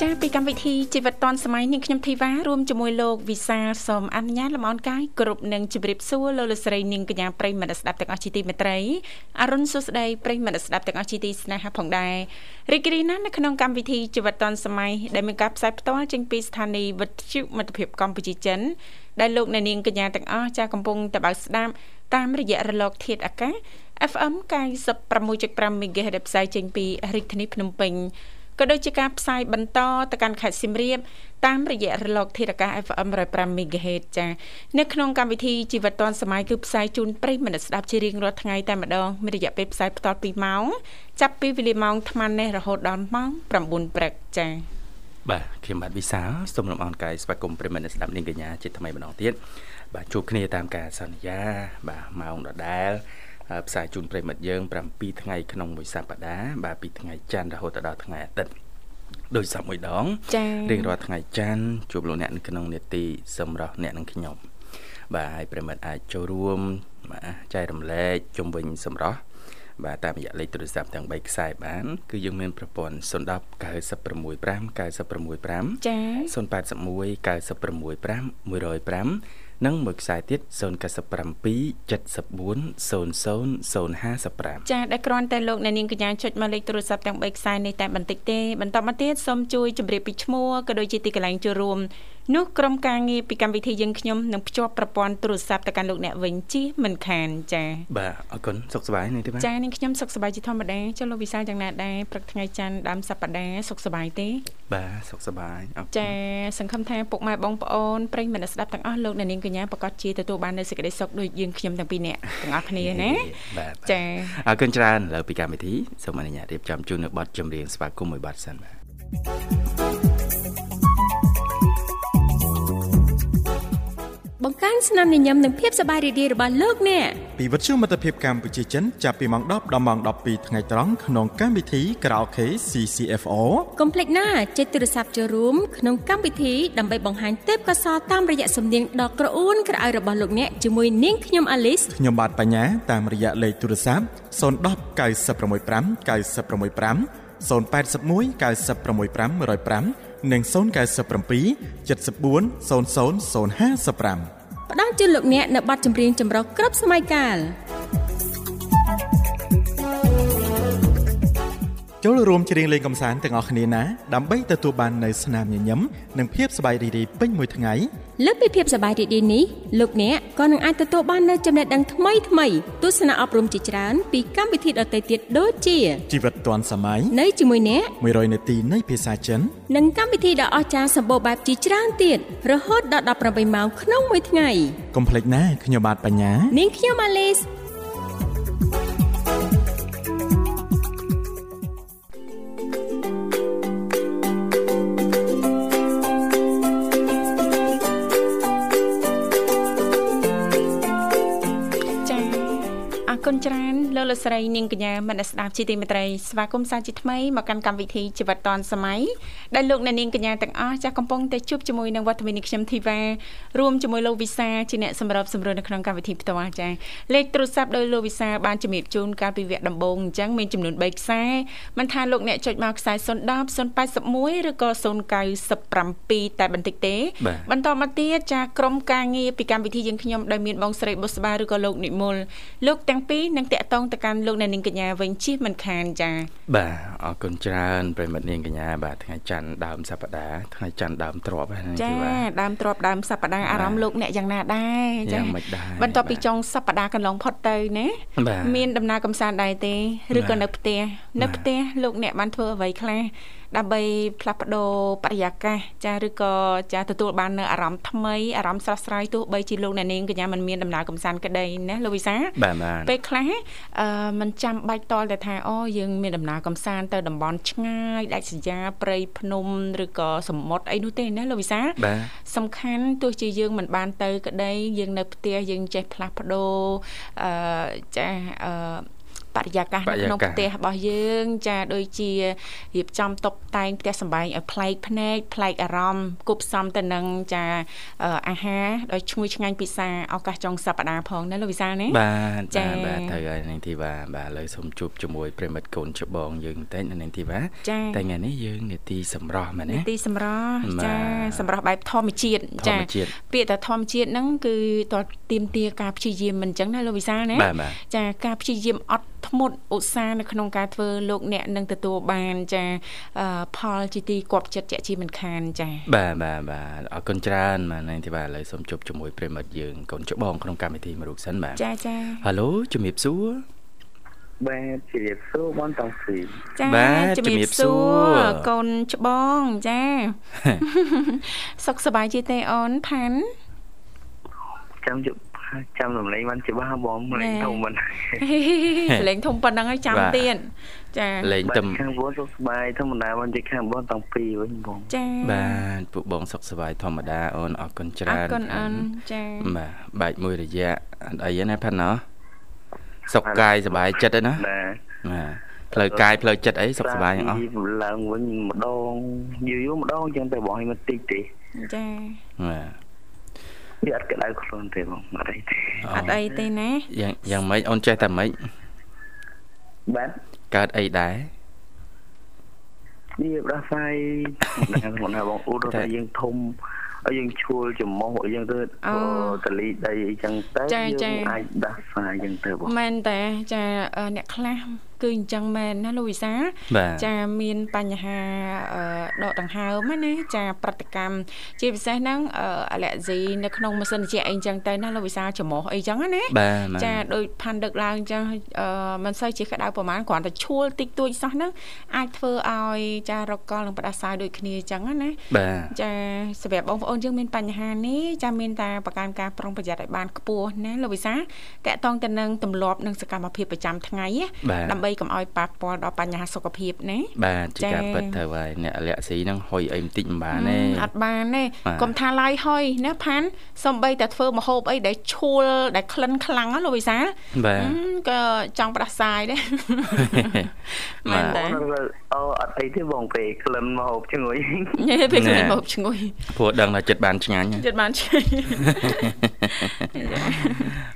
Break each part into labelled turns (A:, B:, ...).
A: ចាពីកម្មវិធីជីវិតទាន់សម័យនាងខ្ញុំធីវ៉ារួមជាមួយលោកវិសាលសូមអនុញ្ញាតលំអរកាយគ្រប់នឹងជម្រាបសួរលោកលោកស្រីនាងកញ្ញាប្រិយមិត្តអ្នកស្ដាប់ទាំងអស់ជាទីមេត្រីអរុនសុស្ដីប្រិយមិត្តអ្នកស្ដាប់ទាំងអស់ជាទីស្នេហាផងដែររីករាយណាស់នៅក្នុងកម្មវិធីជីវិតទាន់សម័យដែលមានការផ្សាយផ្ទាល់ចេញពីស្ថានីយ៍វិទ្យុមិត្តភាពកម្ពុជាចិនដែលលោកអ្នកនាងកញ្ញាទាំងអស់ចាកំពុងតបស្ដាប់តាមរយៈរលកធាតុអាកាស FM 96.5 MHz ដែលផ្សាយចេញពីរាជធានីភ្នំពេញក៏ដូចជាការផ្សាយបន្តទៅកាន់ខេត្តសៀមរាបតាមរយៈរលកធាតុអាកាស FM 105 MHz ចា៎នៅក្នុងកម្មវិធីជីវិតឌွန်សម័យគឺផ្សាយជូនប្រិយមិត្តអ្នកស្ដាប់ជារៀងរាល់ថ្ងៃតែម្ដងមានរយៈពេលផ្សាយបន្ត2ម៉ោងចាប់ពីវេលាម៉ោង8:00នេះរហូតដល់ម៉ោង9:00ព្រឹកចា៎
B: បាទខ្ញុំបាទវិសាលសូមលំអរកាយស្វាគមន៍ប្រិយមិត្តអ្នកស្ដាប់នាងកញ្ញាជាថ្មីម្ដងទៀតបាទជួបគ្នាតាមការសន្យា បាទម៉ោងដដែលអ่าផ្សាយជូនប្រិយមិត្តយើង7ថ្ងៃក្នុងមួយសប្តាហ៍បាទពីថ្ងៃច័ន្ទរហូតដល់ថ្ងៃអាទិត្យដោយសប្មួយដង
A: ចា៎
B: រៀងរាល់ថ្ងៃច័ន្ទជួបលោកអ្នកនៅក្នុងនេតិសម្រាប់អ្នកនិងខ្ញុំ បាទហើយប្រិមិត្តអាចចូលរួមបាទចែករំលែកជំវិញសម្រាប់បាទតាមរយៈលេខទូរស័ព្ទទាំង3ខ្សែបានគឺយើងមានប្រព័ន្ធ010 965 965
A: ចា៎
B: 081 965 105និងមួយខ្សែទៀត097 74 00055
A: ចាដែលគ្រាន់តែលោកអ្នកនាងកញ្ញាចុចមកលេខទូរស័ព្ទទាំង3ខ្សែនេះតែបន្តិចទេបន្តមកទៀតសូមជួយជម្រាបពីឈ្មោះក៏ដូចជាទីកន្លែងចូលរួមនោះក្រុមការងារពីកម្មវិធីយើងខ្ញុំនឹងភ្ជាប់ប្រព័ន្ធទូរស័ព្ទទៅកាន់លោកអ្នកវិញជិះមិនខានចា
B: បាទអរគុណសុខសប្បាយនេះទេបាទ
A: ចានាងខ្ញុំសុខសប្បាយជាធម្មតាចុះលោកវិសាលយ៉ាងណាដែរព្រឹកថ្ងៃច័ន្ទដើមសប្តាហ៍សុខសប្បាយទេ
B: បាទសុខសប្បាយអរគុណ
A: ចាសង្ឃឹមថាពុកម៉ែបងប្អូនប្រិយមិត្តអ្នកស្ដាប់ទាំងអស់លោកអ្នកនាងកញ្ញាប្រកាសជាទទួលបាននូវសេចក្តីសុខដូចយើងខ្ញុំទាំងពីរនាក់ទាំងអស់គ្នាណា
B: បាទបាទ
A: ចា
B: អរគុណច្រើនឥឡូវពីកម្មវិធីសូមអនុញ្ញាតរៀបចំជូននៅប័ណ្ណចម្រៀងស្វាគមន៍មួយប័ណ្ណសិនបាទ
C: បង្កើនស្នាមញញឹមនិងភាពសប្បាយរីករាយរបស់លោកអ្នក
D: ពីវិទ្យុមិត្តភាពកម្ពុជាចិនចាប់ពីម៉ោង10ដល់ម៉ោង12ថ្ងៃត្រង់ក្នុងកម្មវិធី Karaoke CCFO
C: កុំភ្លេចណាចេញទូរស័ព្ទចូលរួមក្នុងកម្មវិធីដើម្បីបង្ហាញទេពកោសល្យតាមរយៈសំនៀងដ៏ក្រអួនក្រអៅរបស់លោកអ្នកជាមួយនាងខ្ញុំអាលីស
D: ខ្ញុំបាទបញ្ញាតាមរយៈលេខទូរស័ព្ទ010 965 965 081 965 105និង097 74 00055
C: ផ្ដល់ជូនលោកអ្នកនៅប័ណ្ណចម្រៀងចម្រុះគ្រប់សម័យកាល
D: ចូលរួមច្រៀងលេងកម្សាន្តទាំងអស់គ្នាណាដើម្បីទទួលបាននូវស្នាមញញឹមនិងភាពសប្បាយរីករាយពេញមួយថ្ងៃ
C: លើសពីភាពសប្បាយរីករាយនេះលោកអ្នកក៏នឹងអាចទទួលបាននូវចំណេះដឹងថ្មីថ្មីទស្សនៈអប់រំជាច្រើនពីកម្មវិធីដទៃទៀតដូចជា
D: ជីវិតឌွန်សម័យ
C: នៅជាមួយអ្នក
D: 100នាទីនៃភាសាចិន
C: និងកម្មវិធីដ៏អស្ចារ្យសម្បូរបែបជាច្រើនទៀតរហូតដល់18ម៉ោងក្នុងមួយថ្ងៃ
D: កុំភ្លេចណាខ្ញុំបាទបញ្ញា
C: នាងខ្ញុំអាលីស
A: ចាអរគុណច្រើនលោកលោកស្រីនាងកញ្ញាមនស្សស្ដាប់ជាទីមេត្រីស្វាគមន៍សាជាថ្មីមកកាន់កម្មវិធីជីវិតឌွန်សម័យដែលលោកអ្នកនាងកញ្ញាទាំងអស់ចាស់កំពុងតែជួបជាមួយនឹងវត្តមាននេះខ្ញុំធីវ៉ារួមជាមួយលោកវិសាជាអ្នកសម្របសម្រួលនៅក្នុងកម្មវិធីផ្ទាល់ចាលេខទូរស័ព្ទដោយលោកវិសាបានជំរាបជូនកាលពីវគ្គដំបូងអញ្ចឹងមានចំនួន3ខ្សែមិនថាលោកអ្នកចុចមកខ្សែ010 081ឬក៏097តែបន្តិចទេ
B: បាទ
A: បន្តមកទៀតចាក្រុមការងារពីកម្មវិធីយើងខ្ញុំដែលមានបងស្រីបុស្បាឬក៏លោកនិមលលោកទាំងពីរនឹងតាក់ទងទៅកាន់លោកអ្នកនាងកញ្ញាវិញជិះមិនខានចា
B: បាទអរគុណច្រើនប្រិយមិត្តនាងកញ្ញាបាទថ្ងៃច័ន្ទដើមសប្តាហ៍ថ្ងៃច័ន្ទដើមទ្របហ្នឹង
A: ចា
B: បាទ
A: ដើមទ្របដើមសប្តាហ៍អារម្មណ៍លោកអ្នកយ៉ាងណាដែរ
B: យ៉ាងម៉េចដែរ
A: បន្ទាប់ពីចុងសប្តាហ៍កន្លងផុតទៅណា
B: បាទ
A: មានដំណើរកំសាន្តដែរទេឬក៏
B: បាទ
A: នៅផ្ទះ
B: បា
A: នៅ
B: ទ
A: ផ្ទះលោកអ្នកបានធ្វើអ្វីខ្លះ ដើម្បីផ្លាស់ប្ដូរបរិយាកាសចាឬក៏ចាទទួលបាននៅអារម្មណ៍ថ្មីអារម្មណ៍ស្រស់ស្រាយទោះបីជាលោកអ្នកនាងកញ្ញាមិនមានដំណើរកំសាន្តក្តីណាលោកវិសាល
B: បាទបាទ
A: ពេលខ្លះអឺมันចាំបាច់តលតែថាអូយើងមានដំណើរកំសាន្តទៅតំបន់ឆ្ងាយដាច់ស្រយាលព្រៃភ្នំឬក៏សមុទ្រអីនោះទេណាលោកវិសាល
B: បាទ
A: សំខាន់ទោះជាយើងមិនបានទៅក្តីយើងនៅផ្ទះយើងចេះផ្លាស់ប្ដូរអឺចាស់អឺបរិយាកាស
B: បរិ
A: នៅ
B: យា
A: ក្នុង
B: កាស
A: ផ្ទះរបស់យើង ចាដូចជារៀបចំតុបតែងផ្ទះសម្បែងឲ្យប្លែកភ្នែកប្លែកអារម្មណ៍គប់ផ្សំទៅនឹងចាអឺអាហារដោយឈ្ងុយឆ្ងាញ់ពិសាឱកាសចុងសប្តាហ៍ផងណាលោកវិសាលណា
B: បាទ
A: ចា៎
B: បាទបាទត្រូវហើយនាងធីវ៉ាបាទឥឡូវសូមជួបជាមួយប្រិមិត្តកូនច្បងយើងបន្តិចនាងធីវ៉ា
A: ចា
B: តែថ្ងៃនេះយើងនេតិសម្រស់មែន
A: នី
B: ទេ
A: តិសម្រស់
B: បាទ
A: ចាសម្រស់បែបធម្មជាតិ
B: ធម្មជាតិ
A: ពាក្យតែធម្មជាតិហ្នឹងគឺតើទៀមទាការព្យាយាមមិនអញ្ចឹងណាលោកវិសាលណា
B: បាទបាទ
A: ចាការព្យាយាមអត់ធ្មត់ឧស្សាហ៍នៅក្នុងការធ្វើលោកអ្នកនឹងទទួលបានចាអឺផលជាទីគាប់ចិត្តជាក់ជាមិនខានចា
B: បាទបាទបាទអរគុណច្រើនបាទនាងធីវ៉ាឥឡូវសូមជួបជាមួយប្រិមិត្តយើងកូនច្បងក្នុងកម្មវិធីមួយរូបសិនបាទ
A: ចាចា
B: ហៅឡូជំរាបសួរ
E: បាទជារៀបសួរបងតាំងពី
A: ចា
B: បាទ
A: ជំរា
B: ជំរា
A: ប
B: បសួ
A: សួ
B: រ
A: រកូនច្បងចា សុខសប្បាយជាទេអូនផាន់
E: ចាំជប់ចាំរំលែងបានច្បាស់បងរំលែង
A: ណែ
E: ធំមិន
A: លេងធំប៉ុណ្ណឹងហើយចាំ
B: បាទ
A: ទៀតចា
B: លេង
E: បា
B: ទឹម
E: ទខាងបងសុខសប្បាយធម្មតាបងជិះខាងបងតាំងពីវិញបង
A: ចា
B: បាទពួកបងសុខសប្បាយធម្មតាអូនអរគុណ
A: អ
B: ច្រើ
A: រ
B: ន
A: គុណអូនចា
B: បាទបែកមួយរយៈអត់អីទេណាផាត់ណាសុខកាយសប្បាយចិត្តឯណា
E: បាទ
B: បាទផ្លូវកាយផ្លូវចិត្តអីសុខសប្បាយទាំងអស់
E: ប្រាំពីឡើងវិញម្ដងយូរយូរម្ដងចឹងតែបងឲ្យមកតិចទេ
A: ចា
B: បាទ
E: វាអត់ក្តៅខ្លួនទេបងអត់អីទេ
A: អត់អីទេណា
B: យ៉ាងយ៉ាងម៉េចអូនចេះតែម៉េច
E: បាទ
B: កើតអីដែរ
E: វាប្រាស្រ័យដល់ហ្នឹងណាបងអ៊ូរថាយើងធំឲ្យយើងឈួលចំមុះឲ្យយើងទៅទលីដីអីចឹងទៅយើងអាចដោះស្រាយចឹងទៅបង
A: មែនតាចាអឺអ្នកខ្លះគឺអញ្ចឹងមែនណាលោកវិសាល
B: បាទ
A: ចាមានបញ្ហាអឺដកដង្ហើមហ្នឹងណាចាប្រតិកម្មជាពិសេសហ្នឹងអឺអាឡែហ្ស៊ីនៅក្នុងម៉ាស៊ីនត្រជាក់អីអញ្ចឹងទៅណាលោកវិសាលច្រមុះអីអញ្ចឹងណា
B: បាទបាទ
A: ចាដូចផាន់ដឹកឡើងអញ្ចឹងអឺមិនសូវជាក្តៅប្រហែលគ្រាន់តែឈួលតិចតួចសោះហ្នឹងអាចធ្វើឲ្យចារកកលនិងផ្ដាសាយដូចគ្នាអញ្ចឹងណា
B: បាទ
A: ចាសម្រាប់បងប្អូនយើងមានបញ្ហានេះចាមានតែប្រកាន់ការប្រុងប្រយ័ត្នឲ្យបានខ្ពស់ណាលោកវិសាតកតងទៅនឹងទម្លាប់និងសកម្មភាពប្រចាំថ្ងៃ
B: បា
A: ណា
B: ទ
A: ដើម្បីកុំឲ្យប៉ះពាល់ដល់បញ្ហាសុខភាពណា
B: បាទជាការពិតទៅហើយអ្នកអលក្ខស៊ីហ្នឹងហុយអីបន្តិចមិនបានទេ
A: អត់បានទេ
B: បាទ
A: កុំថាឡាយហុយណាផាន់សំបីតែធ្វើមហូបអីដែលឈួលដែលក្លិនខ្លាំងណាលោកវិសា
B: បាទ
A: ហឹមក៏ចង់ផ្ដាសាយដែរ មែន
B: បាទ
A: តើ
E: អូអត់អីទេបងពេកក្លិនមកហូបឈ្ងុយ
A: ពេលគេ
B: ណែ
A: មកឈ្ងុយ
B: ព្រោះដឹងថាចិត្តបានឆ្ងាញ់
A: ចិត្តបានឈ្ងុយ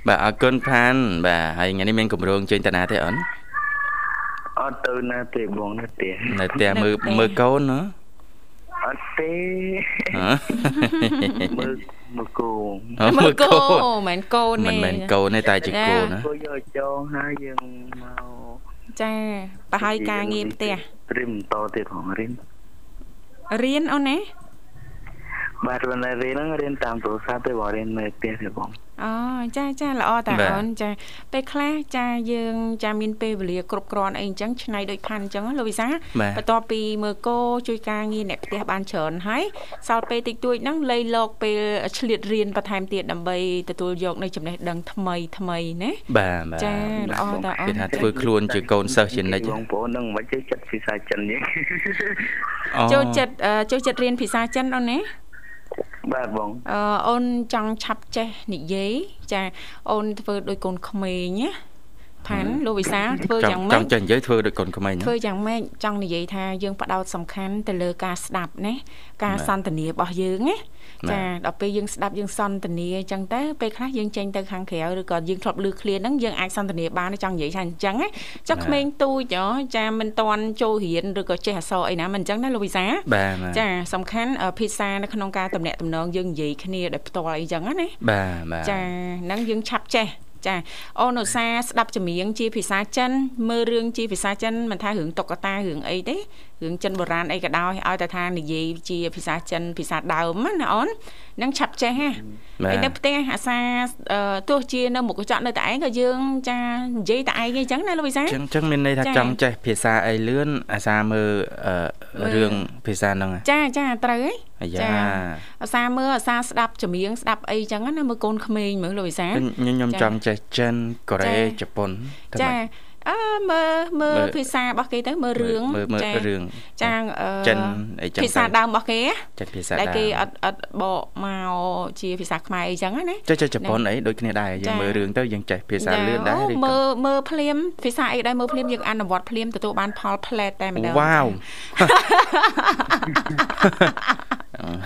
B: បាទអរគុណផាន បាទហើយថ្ងៃនេះមានកម្រងជើញតាណាទេអូន
E: អត់ទៅណាទេបងណាទេ
B: នៅផ្ទះមើល
A: នៅផ្ទះ
B: មើលកូនណា
E: អត់ទេមើលមើលគូ
B: អូ
A: មើលកូ
B: ន
A: នមែនកូនទេ
B: មិនមែនកូនទេតែជា
A: ចា
B: កូនណា
E: គូយកចងហើយយើងមក
A: ចាប្រហែលការងារផ្ទះ
E: រៀនបន្តទៀតផងរៀន
A: រៀនអូនណា
E: បាទប៉ុន្តែរៀនហ្នឹងរៀនតាមទូរស័ព្ទទេបងរៀននៅផ្ទះទេបង
A: អូចាចាល្អតាអូនចាពេលខ្លះចាយើងចាមានពេលវេលាគ្រប់គ្រាន់អីអញ្ចឹងឆ្នៃដូចផាន់អញ្ចឹងណាលោកវិសាល
B: បា
A: ប
B: ទ
A: ន្ទាប់ពីមើលគោជួយការងារអ្នកផ្ទះបានច្រើនហើយសល់ពេលតិចតួចហ្នឹងលៃលោកពេលឆ្លៀតរៀនបន្ថែមទៀតដើម្បីទទួលយកនៅចំណេះដឹងថ្មីថ្មីណា
B: បាទបាទ
A: ចាល្អតាអូ
B: គេ
A: ន
B: ថាធ្វើខ្លួនជាកូនសិស្សជានិច្ច
E: បងប្អូននឹងមិនចេះចិត្ត ភាសាចិនទេ
B: អូ
A: ចូលចិត្តអឺចូលចិត្តរៀនភាសាចិនអូនណា
E: បាទបង
A: អឺអូនចង់ឆាប់ចេះនិយាយចាអូនធ្វើដោយកូនក្មេងណាផាន់លោកវិសាលធ្វើ
B: ច
A: យ៉ាង
B: ង់ច
A: ម៉េ
B: ង់
A: ច
B: ចេះនិយាយធ្វើដូចកូនក្មេង
A: ធ្វើយ៉ាងម៉េចចង់និយាយថាយើងផ្ដោតសំខាន់ទៅលើការស្ដាប់ណាការសន្ទនារបស់យើងណាចាដល់ពេលយើងស្ដាប់យើងសន្ទនាអញ្ចឹងទៅពេលខ្លះយើងចេញទៅខាងក្រៅឬក៏យើងធ្លាប់លឺឃ្លាហ្នឹងយើងអាចសន្ទនាបានចង់និយាយថាអញ្ចឹងណាចុះក្មេងទូចហ៎ចាមិនតន់ចូលរៀនឬក៏ចេះអក្សរអីណាមិនអញ្ចឹងណាលោកវិសា
B: បាទបាទ
A: ចាសំខាន់អឺភាសានៅក្នុងការតំណាក់តំណងយើងនិយាយគ្នាដោយផ្ទាល់អីចឹងណា
B: បាទបាទ
A: ចាហ្នឹងយើងឆាប់ចេះ ចាអូនឧស្សាហ៍ស្ដាប់ចម្រៀងជាភាសាចិនមើលរឿងជាភាសាចិនមិនថារឿងតុកតារឿងអីទេរឿងចិនបុរាណអីក៏ដោយឲ្យតែថានិយាយជាភាសាចិនភាសាដើមណាអូននឹងឆាប់ចេះហ่ะហើយនៅផ្ទះអាសាទោះជានៅមុខកញ្ចក់នៅតែឯងក៏យើងចានិយាយតែឯងអីចឹងណាលោកវិសា
B: ចឹងចឹងមានន័យថាចង់ចេះភាសាអីលឿនអាសាមើលរឿងភាសាហ្នឹង
A: ចាចាត្រូវហ៎
B: អាយ៉ា
A: អាសាមើលអាសាស្ដាប់ចម្រៀងស្ដាប់អីចឹងណាមើលកូនក្មេងមើលលោកវិសា
B: ខ្ញុំចង់ចេះចិនកូរ៉េជប៉ុន
A: ចាអឺមើលមើលភាសារបស់គេទៅមើលរឿង
B: ចារឿង
A: ចា
B: ចិនអីចឹង
A: ភាសាដើមរបស់គេ
B: ចាភាសា
A: ដើមដែលគេអត់អត់បកមកជាភាសាខ្មែរអីចឹងណា
B: ចេះចេះជប៉ុនអីដូចគ្នាដែរយើងមើលរឿងទៅយើងចេះភាសាលឿនដែរ
A: ឬមើលមើលភ្លាមភាសាអីដែរមើលភ្លាមយើងអនុវត្តភ្លាមទទួលបានផលផ្លែតតែម្ដង
B: វ៉ាវ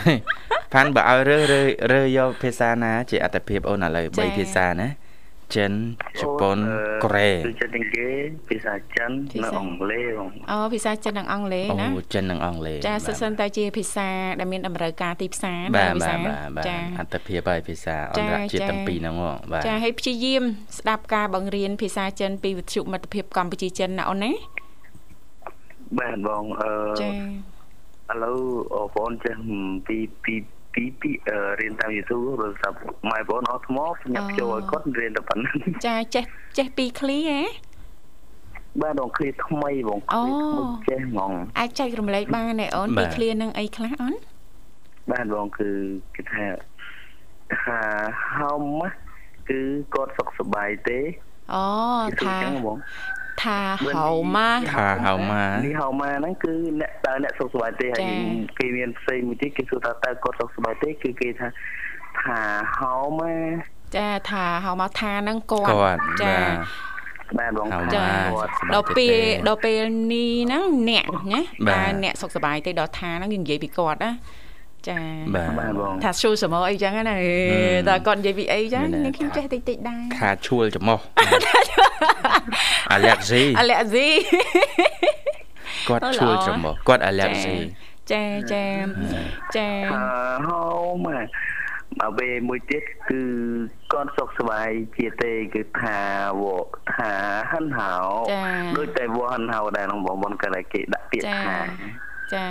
B: ផាន់បើឲ្យរើរើរើយកភាសាណា ជាអត្តភាពអូនឥឡូវ3ភាសាណាចិនជប៉ុនកូរ៉េ
F: ភាសាទាំងគេភាសាចិននិងអង់គ្លេសបង
A: អូភាសាចិននិងអង់គ្លេសណា
B: អូចិននិងអង់គ្លេស
A: ចាសិនសិនតែជាភាសាដែលមានតម្រូវការទីផ្សារ
B: ណាភាសាចាអត្តភាពហើយភាសាអន្តរជាតិទាំងពីរហ្នឹង
A: បាទចាឲ្យព្យាយាមស្ដាប់ការបង្រៀនភាសាចិនពីវិទ្យុមិត្តភាពកម្ពុជាចិនណាអូនណា
F: បាទបងអឺចាឥឡូវបងចេះពីពីពីពីរៀនតាម YouTube ឬសាប់ម៉ែបងអត់ថ្មញ៉ាំចូលឲ្យគាត់រៀនតែប៉ុណ្ណឹង
A: ចាចេះចេះពីឃ្លីហ៎
F: បាទដងឃ្លីថ្មីបង
A: អូ
F: ចេះហ្មង
A: អាចចែករំលែកបានទេអូនពីឃ្លីនឹងអីខ្លះអូន
F: បាទបងគឺគេថាថាហោមគឺគាត់សុខសប្បាយទេ
A: អូថាថាហៅម៉ា
B: ថាហៅម៉ា
F: នេះហៅម៉ាហ្នឹងគឺអ្នកតើអ្នកសុខសប្បាយទេហើយគេមានផ្សេងមួយទៀតគេសួរថាតើគាត់សុខសប្បាយទេគឺគេថាថាហៅម៉ា
A: ចាថាហៅម៉ាថាហ្នឹងគាត់
B: គាត់
A: ចា
F: បាទបង
A: ចាដល់ពេលដល់ពេលនេះហ្នឹងអ្នកណាបាទអ្នកសុខសប្បាយទេដល់ថាហ្នឹងនិយាយពីគាត់ណាចា
B: បាទបង
A: ថាឈូលសមុអីចឹងណាតើគាត់និយាយពីអីចឹងនេះខ្ញុំចេះតិចតិចដែរ
B: ថាឈួលច្មោះអាឡែស៊ី
A: អាឡែស៊ី
B: គាត់ឈួលច្មោះគាត់អាឡែស៊ី
A: ចាចាចា
F: ហោមកមកពេលមួយទៀតគឺគាត់សុខសบายជាទេគឺថាវថាហិនហៅដូចតែវហិនហៅដែរក្នុងបងបងកាលគេដាក់ពាក្យថា
A: ចា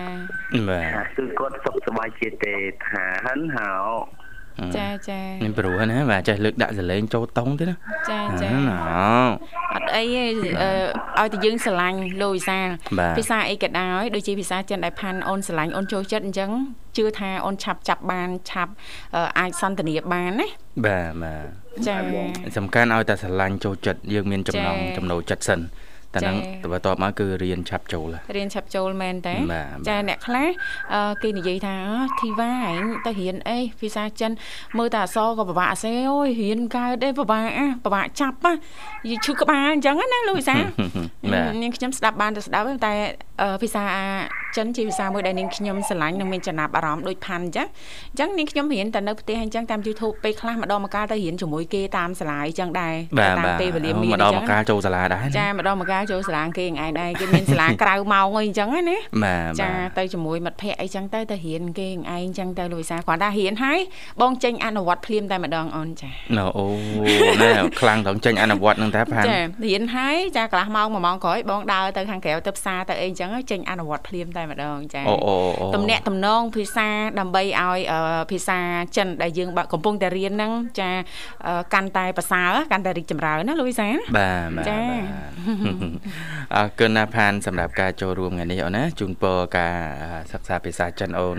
B: បាទ
F: គឺគាត់សុខសบายជាទេថាហិនហៅ
A: ចាចា
B: មានព្រោះណាបាទចេះលើកដាក់សលេងចូលតុងទេណា
A: ចាចាអត់អីទេឲ្យតែយើងស្រឡាញ់លោកវិសាលភាសាអីក៏ដោយដូចជាភាសាចិនដែលផាន់អូនស្រឡាញ់អូនចូលចិត្តអញ្ចឹងជឿថាអូនឆាប់ចាប់បានឆាប់អាចសន្ទនាបានណា
B: បាទបាទ
A: ចា
B: សំខាន់ឲ្យតែស្រឡាញ់ចូលចិត្តយើងមានចំណងចំណូលចិត្តសិនតែនឹងបន្ទាប់មកគឺរៀនឆាប់ចូល
A: រៀនឆាប់ចូលមែនតើចាអ្នកខ្លះគេនិយាយថាធីវ៉ាឯងទៅរៀនអីភាសាចិនមើលតែអសក៏ពិបាកអសេអូយរៀនកើតអីពិបាកអាពិបាកចាប់យីឈឺក្បាលអញ្ចឹងណាលោកវិសា នាងខ្ញុំស្ដាប់បានតែស្ដាប់តែភាសាចិនជាភាសាមួយដែលនាងខ្ញុំស្រឡាញ់និងមានចំណាប់អារម្មណ៍ដូចផាន់អញ្ចឹងអញ្ចឹងនាងខ្ញុំរៀនតែនៅផ្ទះអញ្ចឹងតាម YouTube ពេលខ្លះម្ដងម្កាលទៅរៀនជាមួយគេតាមសាលាអញ្ចឹងដែរតាមពេលវេលាមាន
B: ម្ដងម្កាលចូលសាលាដែរ
A: ចាម្ដងម្កាលចូលសាលាគេឯងដែរគេមានសាលាក្រៅម៉ោងអីអញ្ចឹងណា
B: ចា
A: ទៅជាមួយមិត្តភ័ក្ដិអីចឹងទៅទៅរៀនគេឯងអញ្ចឹងទៅលោកវិសាគាត់ថារៀនហើយបងចេញអនុវត្តភ្លាមតែម្ដងអូនចា
B: អូអូណា ខ្លាំងដល់ចេញអនុវត្តនឹងតែផាន
A: ចារៀនហើយចាកន្លះម៉ោងមួយម៉ោងក្រោយបងដើរទៅខាងក្រៅទៅផ្សារទៅអីអញ្ចឹងចេញអនុវត្តភ្លាមតែម្ដងចា
B: អូអូ
A: តំណាក់តំណងភាសាដើម្បីឲ្យភាសាចិនដែលយើងកំពុងតែរៀនហ្នឹងចាកាន់តែប្រសើរកាន់តែរីកចម្រើនណាលោកវិសា
B: បាទចាអរគុណណាផានសម្រាប់ការចូលរួមថ្ងៃនេះអូនណាជូនពរការសិក្សាភាសាចិនអូន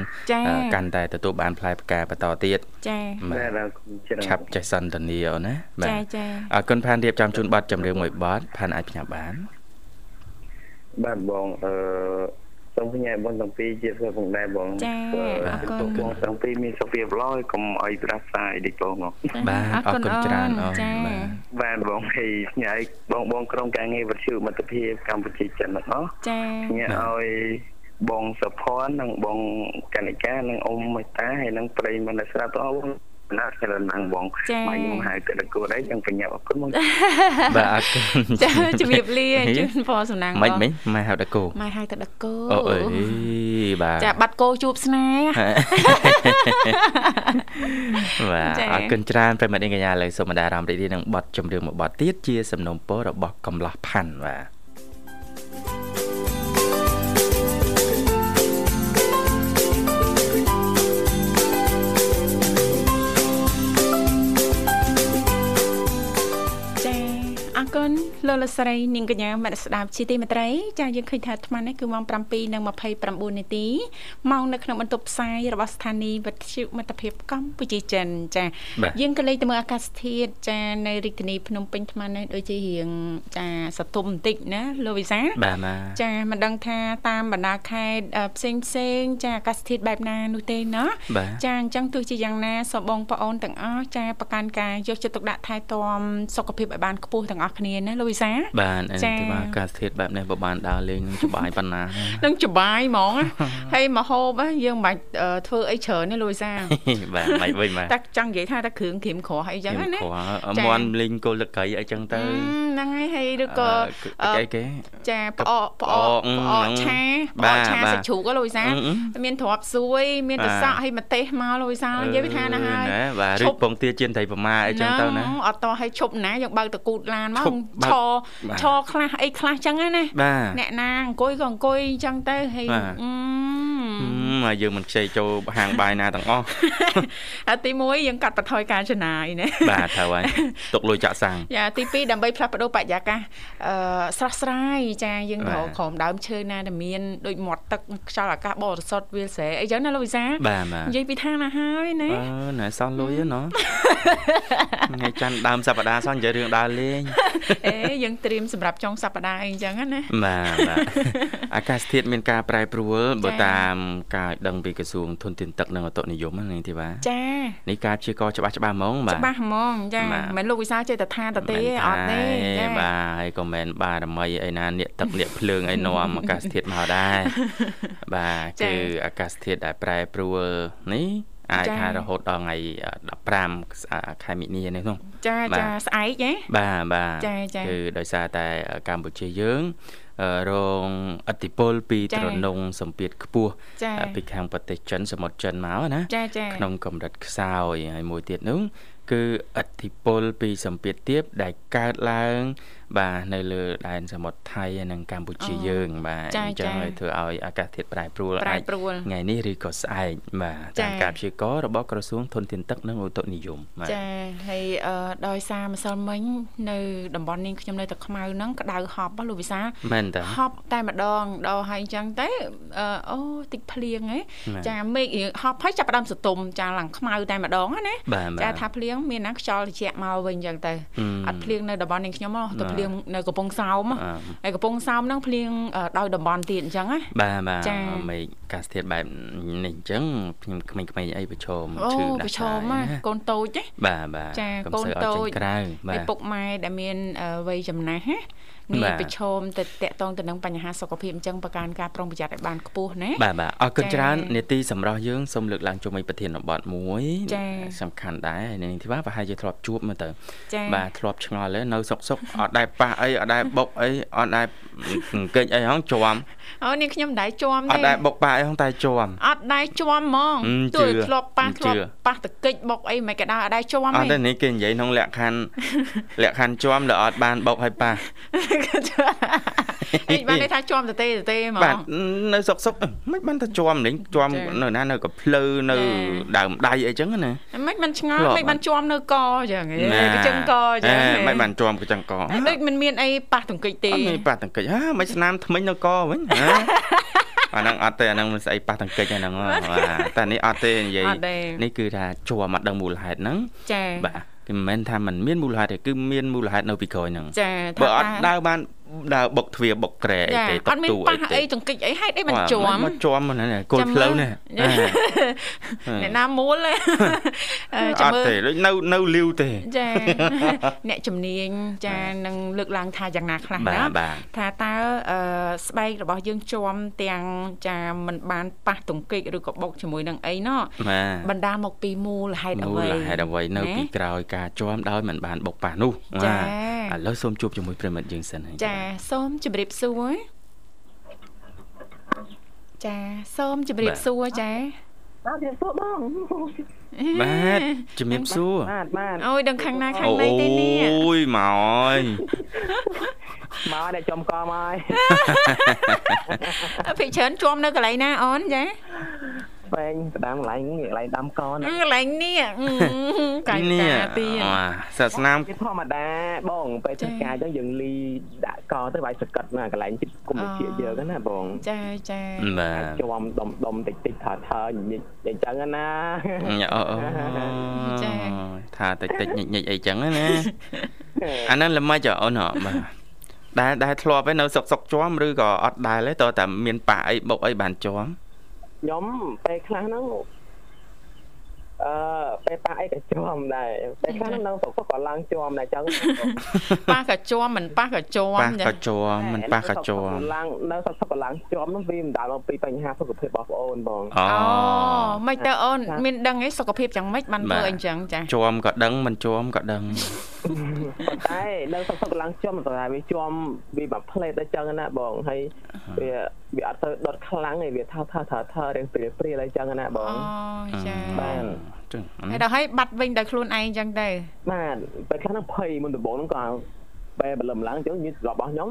B: កាន់តែទទួលបានផ្លែផ្កាបន្តទៀត
A: ចា
F: បាទ
B: ឆាប់ចេះសន្ទនាអូនណា
A: បាទចាចា
B: អរគុណផានរៀបចំជូនប័ណ្ណចម្រៀងមួយប័ណ្ណផានអាចផ្ញើ បាន
F: បាទបងអឺសូមផ្ញើបងទាំងពីរជាផងដែរបង
A: ចាអរគុណ
F: បងទាំងពីរមានសុខភាពល្អហើយកុំអោយប្រសាយដូចបងមក
B: បាទអរគុណច្រើនអូនបាទ
F: បាទបងហើយផ្ញើបងបងក្រុមការងារវិទ្យុមិត្តភាពកម្ពុជាចិនទាំងអស់
A: ចា
F: ផ្ញើអោយបងសុភ័ណ្ឌនិងបងកណិកានិងអ៊ំមេតាហើយនិងប្រិយមិត្តស្រាប់ទាំងអស់បង
E: ណាស់ច្រើនណាស់បង
A: ចា៎
E: មកខ្ញុំហៅទៅដល់គូដែរចឹងបញ្ញាអរគុណបង
B: បាទអរគុណ
A: ចាជំរាបលាជូនពរសំណាង
B: មិនមិនម៉ែហៅតាគូ
A: ម៉ែហៅទៅដកគោ
B: អូអេបាទ
A: ចាបាត់គោជួបស្នេហ៍
B: បាទ
A: ចា៎
B: អរគុណច្រើនប្រិមត្តនាងកញ្ញាលើសុំបណ្ដាអារម្មណ៍រីករាយនឹងបទចម្រៀងមួយបទទៀតជាសំណូមពររបស់កំឡោះផាន់បាទ
A: ចាអរគុណលោកលកស្រីនាងកញ្ញាមកស្ដាប់ជាទីមេត្រីចាយើងឃើញថាអាត្មានេះគឺម៉ោង7:29នាទីម៉ោងនៅក្នុងបន្ទប់ផ្សាយរបស់ស្ថានីយ៍វិទ្យុមិត្តភាពកម្ពុជាចិនចាយើងក៏លេខទៅមើលអាកាសធាតុចានៅរាជធានីភ្នំពេញអាត្មានេះដូចជារៀងចាសន្ទុំបន្តិចណាលោកវិសា
B: បាទម៉ា
A: ចាមិនដឹងថាតាមបណ្ដាខេត្តអឺផ្សេងផ្សេងៗចាអាកាសធាតុបែបណានោះទេណា
B: បាទ
A: ចាអញ្ចឹងទោះជាយ៉ាងណាសូមបងប្អូនទាំងអស់ចាប្រកាន់ការយកចិត្តទុកដាក់ថែទាំសុខភាពឲ្យបានខ្ពស់ទាំងអស់គ្នាណាលូវីសា
B: បាទអីទេបាទអាកាសធាតុបែបនេះបើបានដើរលេងនឹងសុបាយប៉ុណ្ណា
A: នឹងច្បាយហ្ម ងណា ហើយមកហូបណាយើងមិនបាច់អឺធ្វើអីច្រើនណាលូវីសា
B: បាទមិនវិញបាទ
A: តែចង់និយាយថាតែគ្រឿងគ្រាមក្រោះអីចឹងណា
B: ខ្ញុំគ្រាន់មន់លេងគោលលឹកក្រៃអីចឹងទៅ
A: ហ្នឹងហើយហើយឬក៏
B: អឺអីគេ
A: ចាផ្អកផ្អក
B: ផ្អក
A: ផ្អកឆា
B: បា
A: ផ្អក
B: ទ
A: ឆា
B: បាទ
A: សាច់ជ្រូកណាលូវីសា
B: អឺអឺ
A: មានទ្រាប់ស្រួយមាន
B: បាទ
A: ទឹកសក់ហើយម្ទេសមកលូវីសានិយាយវាថាណាហើយ
B: ណាបាទ
A: ឈ
B: ឬ
A: ប់
B: ពងទាជៀនត្រីប្រម៉ាអីចឹងទៅណា
A: ហ្នឹងអត់តោះឲ្យឈប់ណាយើងបើកតកូតឡានមក
B: ឈប់
A: ឈ
B: បើក
A: រ
B: បាទ
A: ឈរខ្លះអីខ្លះចឹងហ្នឹងណា
B: បាទ
A: អ្នកណាអង្គុយក៏អង្គុយចឹងទៅហើយ
B: បាទ
A: អឺ
B: ហឹមហើយយើងមិនខ្ចីចូលហាងបាយណាទាំងអស់
A: អាទី1យើងកាត់បន្ថយការចំណាយណា
B: បាទត្រូវហើយទុកលុយចាក់សាំង
A: យ៉ាទី2ដើម្បីផ្លាស់ប្ដូរបរិយាកាសអឺស្រស់ស្រាយចាយើង
B: បាទ
A: ត្រូវក្រោមដើមឈើណាដែលមានដូចមាត់ទឹកខ្យល់អាកាសបរិសុទ្ធវាលស្រែអីចឹងណាលោកវិសា
B: បាទបាទ
A: និយាយពីថាណាហើយណា
B: អឺណែសោះលុយហ្នឹងណ៎ ថ្ងៃច័ន្ទដើមសប្តាហ៍សោះនិយាយរឿងដើរលេង
A: អេយើងត្រៀមសម្រាប់ចុងសប្តាហ៍អីចឹងណា
B: បាទបាទ អាកាសធាតុមានការប្រែប្រួលបើតាមការឲ្យដឹងពីក្រសួងធនធានទឹកនិងអតុនិយមណានាងធីវ៉ា
A: ចា
B: នេះការព្យាករណ៍ច្បាស់ច្បាស់ហ្មងបាទ
A: ច្បាស់ហ្មងចា
B: បាទ
A: មិនលោកវិសាលចេះតែថាទៅទេអត់ទេ
B: ចា
A: ចា
B: បាទហើយក៏មិនបារមីអីណានាកទឹកនាកភ្លើងអីនាំអាកាសធាតុមក ដែរ បាទគឺអាកាសធាតុដែលប្រែប្រួលនេះអាចថារហូតដល់ថ្ងៃ15ខែមិនិនានេះនោះ
A: ចា
B: បាទ
A: ចាស្អែកហ៎
B: បាទបាទ
A: ចាចា
B: គឺដោយសារតែកម្ពុជាយើងអឺរងឥទ្ធិពលពី
A: ចា
B: ត្រនងសម្ពាធខ្ពស់
A: ចា
B: ពីខាងប្រទេសចិនសមុទ្រចិនមកណា
A: ចាចា
B: ក្នុងកម្រិតខ្សោយហើយមួយទៀតនោះគឺឥទ្ធិពលពីសម្ពាធទាបដែលកើតឡើង បាទនៅលើដែនសមុទ្រថៃហើយនិងកម្ពុជាយើង បាទ
A: ចា
B: អញ្ចឹ
A: ចា
B: ងហើយធ្វើឲ្យអាកាសធាតុប្រែប្រួល
A: ប្រែ
B: អាច
A: ប្រួល
B: ថ្ងៃនេះឬក៏ស្អែកបាទ
A: ចា
B: តាមការព្យាករណ៍របស់ក្រសួងធនធានទឹកនិងឧតុនិយមបាទ
A: ចាហើយអឺដោយសារម្សិលមិញនៅតំបន់នាងខ្ញុំនៅតែខ្មៅហ្នឹងក្តៅហប់ហ៎លោកវិសាល
B: មែនតា
A: ហប់តែម្ដងដល់ហើយអញ្ចឹងទៅអឺអូតិចភ្លៀងហ៎
B: បាទ
A: ចាមេឃរៀងហប់ហើយចាប់ផ្ដើមសន្ទុំចាឡើងខ្មៅតែម្ដងហ្នឹងណា
B: បាទបាទ
A: ចាថាភ្លៀងមានណាខ្យល់ត្រជាក់មកវិញអញ្ចឹងទៅ
B: អឺ
A: អត់ភ្លៀងនៅតំបន់នេះខ្ញុំហ៎
B: បា
A: តែ
B: ទ
A: ភ្លៀងនៅកំពង់សោមហ៎
B: អឺ
A: ហើយកំពង់សោមហ្នឹងភ្លៀងអឺដោយតំបន់ទៀតអញ្ចឹងណា
B: បាទបា
A: ចា៎
B: ទមេឃកាសធាតបែបនេះអញ្ចឹងខ្ញុំក្មេងៗអីប្រឈម
A: អូ
B: ឈឺដា
A: ប្រ
B: ស់
A: ឈម
B: ដែរ
A: ណា
B: ណា
A: កូនតូចណា
B: បាទបាទ
A: ចា
B: កុំ
A: កូន
B: សូវ
A: តូ
B: ឲ្យចេ
A: ច
B: ញក្រៅបា
A: ពី
B: ទ
A: ពុកម៉ែដែលមានអឺវ័យចំណាស់ណាងា
B: បា
A: យ
B: ទ
A: ប្រឈមទៅតាក់ទងទៅនឹងបញ្ហាសុខភាពអញ្ចឹងប្រកាន់ការប្រុងប្រយ័ត្នឲ្យបានខ្ពស់ណា
B: បាទបាទអរគុណ
A: ចា៎
B: ច្រើននេតិសម្រាប់យើងសូមលើកឡើងជុំវិញប្រធានបទមួយ
A: ចា៎
B: សំខាន់ដែរហើយនាងធីវ៉ាប្រហែលជាធ្លាប់ជួបមើលទៅ
A: ចា៎
B: បាទធ្លាប់ឆ្ងល់ហើយនៅសុកសុកអត់ដែរប៉ះអីអត់ដែរបុកអីអត់ដែរអង្គិចអីហងជាប់
A: អូនេះខ្ញុំមិនដែរជាប់
B: អ
A: ទេ
B: ត់ដែរបុកប៉ះអីហងតែជាប់
A: អត់ដែរជាប់ហ្មង
B: អឺ
A: ទោះ
B: ជឿ
A: ធ្លាប់ប៉ះ
B: អឺ
A: ធ្លាប់
B: ជឿ
A: ប៉ះតកិច្ចបុកអីមិនក៏ដោយអត់ដែរជាប់
B: អ
A: ទេ
B: ត់ទេនេះគេនិយាយក្នុងលក្ខខណ្ឌ លក្ខខណ្ឌជាប់ដែលអត់បានបុកឲ្យប៉ះ
A: អីបានន័យថាជាប់ទៅទេទៅទេហ្ម
B: បាទ
A: ង
B: នៅសុកសុកអឺមិនបានទៅជាប់លេងជាប់
A: ចា៎
B: នៅណានៅកភ្លើនៅ
A: ចា៎
B: ដើមដៃអីចឹងណា
A: មិនមិនឆ្ងល់
B: ធ្លាប់
A: មិន
B: បា
A: បាន
B: ន
A: ជាប់នៅកអញ្ចឹងឯងកញ្ចឹងកអញ្ចឹងឯ
B: អេ
A: ង
B: មិនបានជាប់កញ្ចឹងកអ
A: ហើយដូចមិនមានអីប៉ះតកិច្ចទេ
B: ត់មានប៉ះតង្កិចហ่าមិនស្នាមថ្មិញនៅកវិញហ៎ អាហ្នឹងអត់ទេអាហ្នឹងមិនស្អីប៉ះតង្កិចអាហ្នឹងហ៎បាទតែនេះអត់ទេនិយាយ
A: អត់ទេ
B: នេះគឺថាជាប់មកដឹងមូលហេតុហ្នឹង
A: ចា
B: បាទគឺមិនមែនថាมันមានមូលហេតុទេគឺមានមូលហេតុនៅពីក្រោយហ្នឹង
A: ចា
B: បើ
A: ថា
B: អត់
A: តា
B: ដើរបាន ដើរបុកទ្វារបុកត្រែអីទេ
A: អត់មានប៉ះអីចង្កិចអីហេតុអីមិនជាប់
B: មិនជាប់ហ្នឹងគោលផ្លូវនេះ
A: អ្នកណាមូល
B: អត់ទេដូចនៅនៅលីវទេ
A: ចា អ្នកជំនាញចានឹងលើកឡើងថាយ៉ាងណាខ្លះណាថាតើស្បែករបស់យើងជាប់ទាំងចាមិនបានប៉ះទង្គិចឬក៏បុកជាមួយនឹងអីណោះបណ្ដាមកពីមូលហេតុអ្វី
B: មូលហេតុអ្វីនៅពីក្រោយការជាប់ដោយមិនបានបុកប៉ះនោះ
A: ចា
B: ឥឡូវសូមជួបជាមួយប្រិមិត្តយើងសិន
A: ហើយចាសូមជម្រាបសួរចាសូមជម្រាបសួរចា
G: បាទជម្រាបសួរបង
B: បាទជំរាបសួរ
G: បាទបាទ
A: អូយដឹងខាងណាខាងណីទេនេះ
B: អូយមកអើយ
G: មកដល់ចំកមហើយ
A: ភិកច្រើនជុំនៅកន្លែងណាអូនចា
G: ពេញផ្ដាំកន្លែងកន្លែងដាំកនក
A: ន្លែង នេះកាយតាទី
B: សាសនា
G: គេធម្មតាបងពេលធ្វើការអញ្ចឹងយើងលីដាក់កទៅវាយសកាត់ណាកន្លែងចិត្តគុំវិជាយើងណាបង
A: ចាចា
B: បាទ
G: ជុំដុំដុំតិចតិចថើថើញិចអញ្ចឹងណា
B: អូអូចាថាតិចតិចញិចញិចអីចឹងណា អាហ្នឹងល្មិចអូនបាទដែលដែលធ្លាប់ឯនៅសុកសុកជွំឬក៏អត់ដែលទេតើតែមានប៉ាអីបុកអីបានជွំ
G: ខ្ញុំពេលខ្លះហ្នឹងអឺពេលប៉ះអីក៏ជាប់ដែរពេលខ្លះហ្នឹងប្រកបក៏ឡើងជាប់ដែរចឹង
A: ប៉ះក៏ជាប់មិនប៉ះក៏ជាប់
B: ប៉ះក៏ជាប់មិនប៉ះក៏ជាប់
G: ឡើងនៅសុខសុខឡើងជាប់ហ្នឹងវាមិនដាល់មកពីបញ្ហាសុខភាពរបស់បងអូនបង
B: អូ
A: មិនទៅអូនមានដឹងអីសុខភាពយ៉ាងម៉េចបានធ្វើអីចឹងចា
B: ជាប់ក៏ដឹងមិនជាប់ក៏ដឹង
G: ប៉ុន្តែនៅសុខសុខឡើងជាប់តែវាជាប់វាបាផ្លេតដែរចឹងណាបងហើយវាវាអត់ទៅដុតខ្លាំងទេវាថើថើថើថើរៀងព្រាព្រាអីចឹងណាបង
A: អូចា
G: បាន
B: ចឹង
A: ហើយដល់ហើយបាត់វិញដោយខ្លួនឯងចឹងទៅ
G: បាទពេលខ្លះហ្នឹងភ័យមុនដំបូងហ្នឹងក៏ពេលបលឹមឡើងចឹងមានរបស់ខ្ញុំ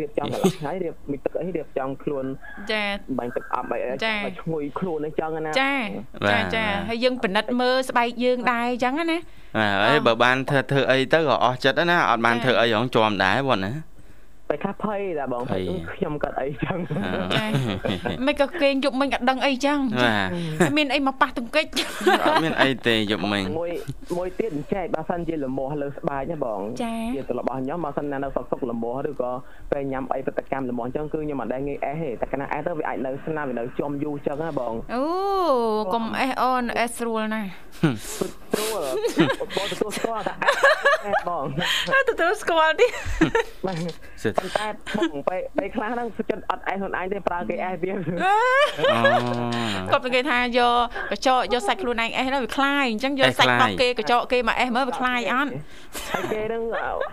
G: រៀបចំកន្លះថ្ងៃរៀបមីទឹកអីរៀបចំខ្លួន
A: ចា
G: បាញ់ទឹកអប់អីចាឈ្ងុយខ្លួនអីចឹងណា
A: ចាចាចាហើយយើងពិនិត្យមើលស្បែកយើងដែរចឹងណា
B: ហើយបើបានធ្វើធ្វើអីទៅក៏អស់ចិត្តណាអត់បានធ្វើអីរងជាប់ដែរបងណា
G: ពេលខ្លះភ័យដែរបងខ្ញុំក៏អីចឹង
A: មិនក៏គេងយប់មិញក៏ដឹងអីចឹងមានអីមកប៉ះទ ង្គិច
B: អត់មានអីទេយប់មិ ញ
G: មួយមួយទៀតអញ្ចែកបើសិនជាលមោះលើស្បែកណាបង
A: ជា
G: ទៅរបស់ខ្ញុំបើសិនណានៅសុកសុកលមោះឬក៏ពេលញ៉ាំអីប្រតិកម្មលមោះចឹងគឺខ្ញុំអត់ដែរងាយអេសទេតែកណាអេសទៅវាអាចនៅស្នាមវានៅចំយូរចឹងណាបង
A: អូកុំអេសអូនអេសស្រួលណាស់
G: ស្រួលបងទទួលស្គាល់តែអេសបង
A: ទទួលស្គាល់ ទី
G: ប៉ុន្តែបងពេលពេលខ្លះហ្នឹងសុចិត្តអត់អេសខ្លួនឯងទេប្រើគេអេស
A: គ
G: វា
A: ាត់គេថាយកកញ្ចក់យកសាច់ខ្លួនឯងអេសហ្នឹងវាคลายអញ្ចឹងយកសាច់របស់គេកញ្ចក់គេមកអេសមើលវាคลายអត់
G: ហើយគេហ្នឹង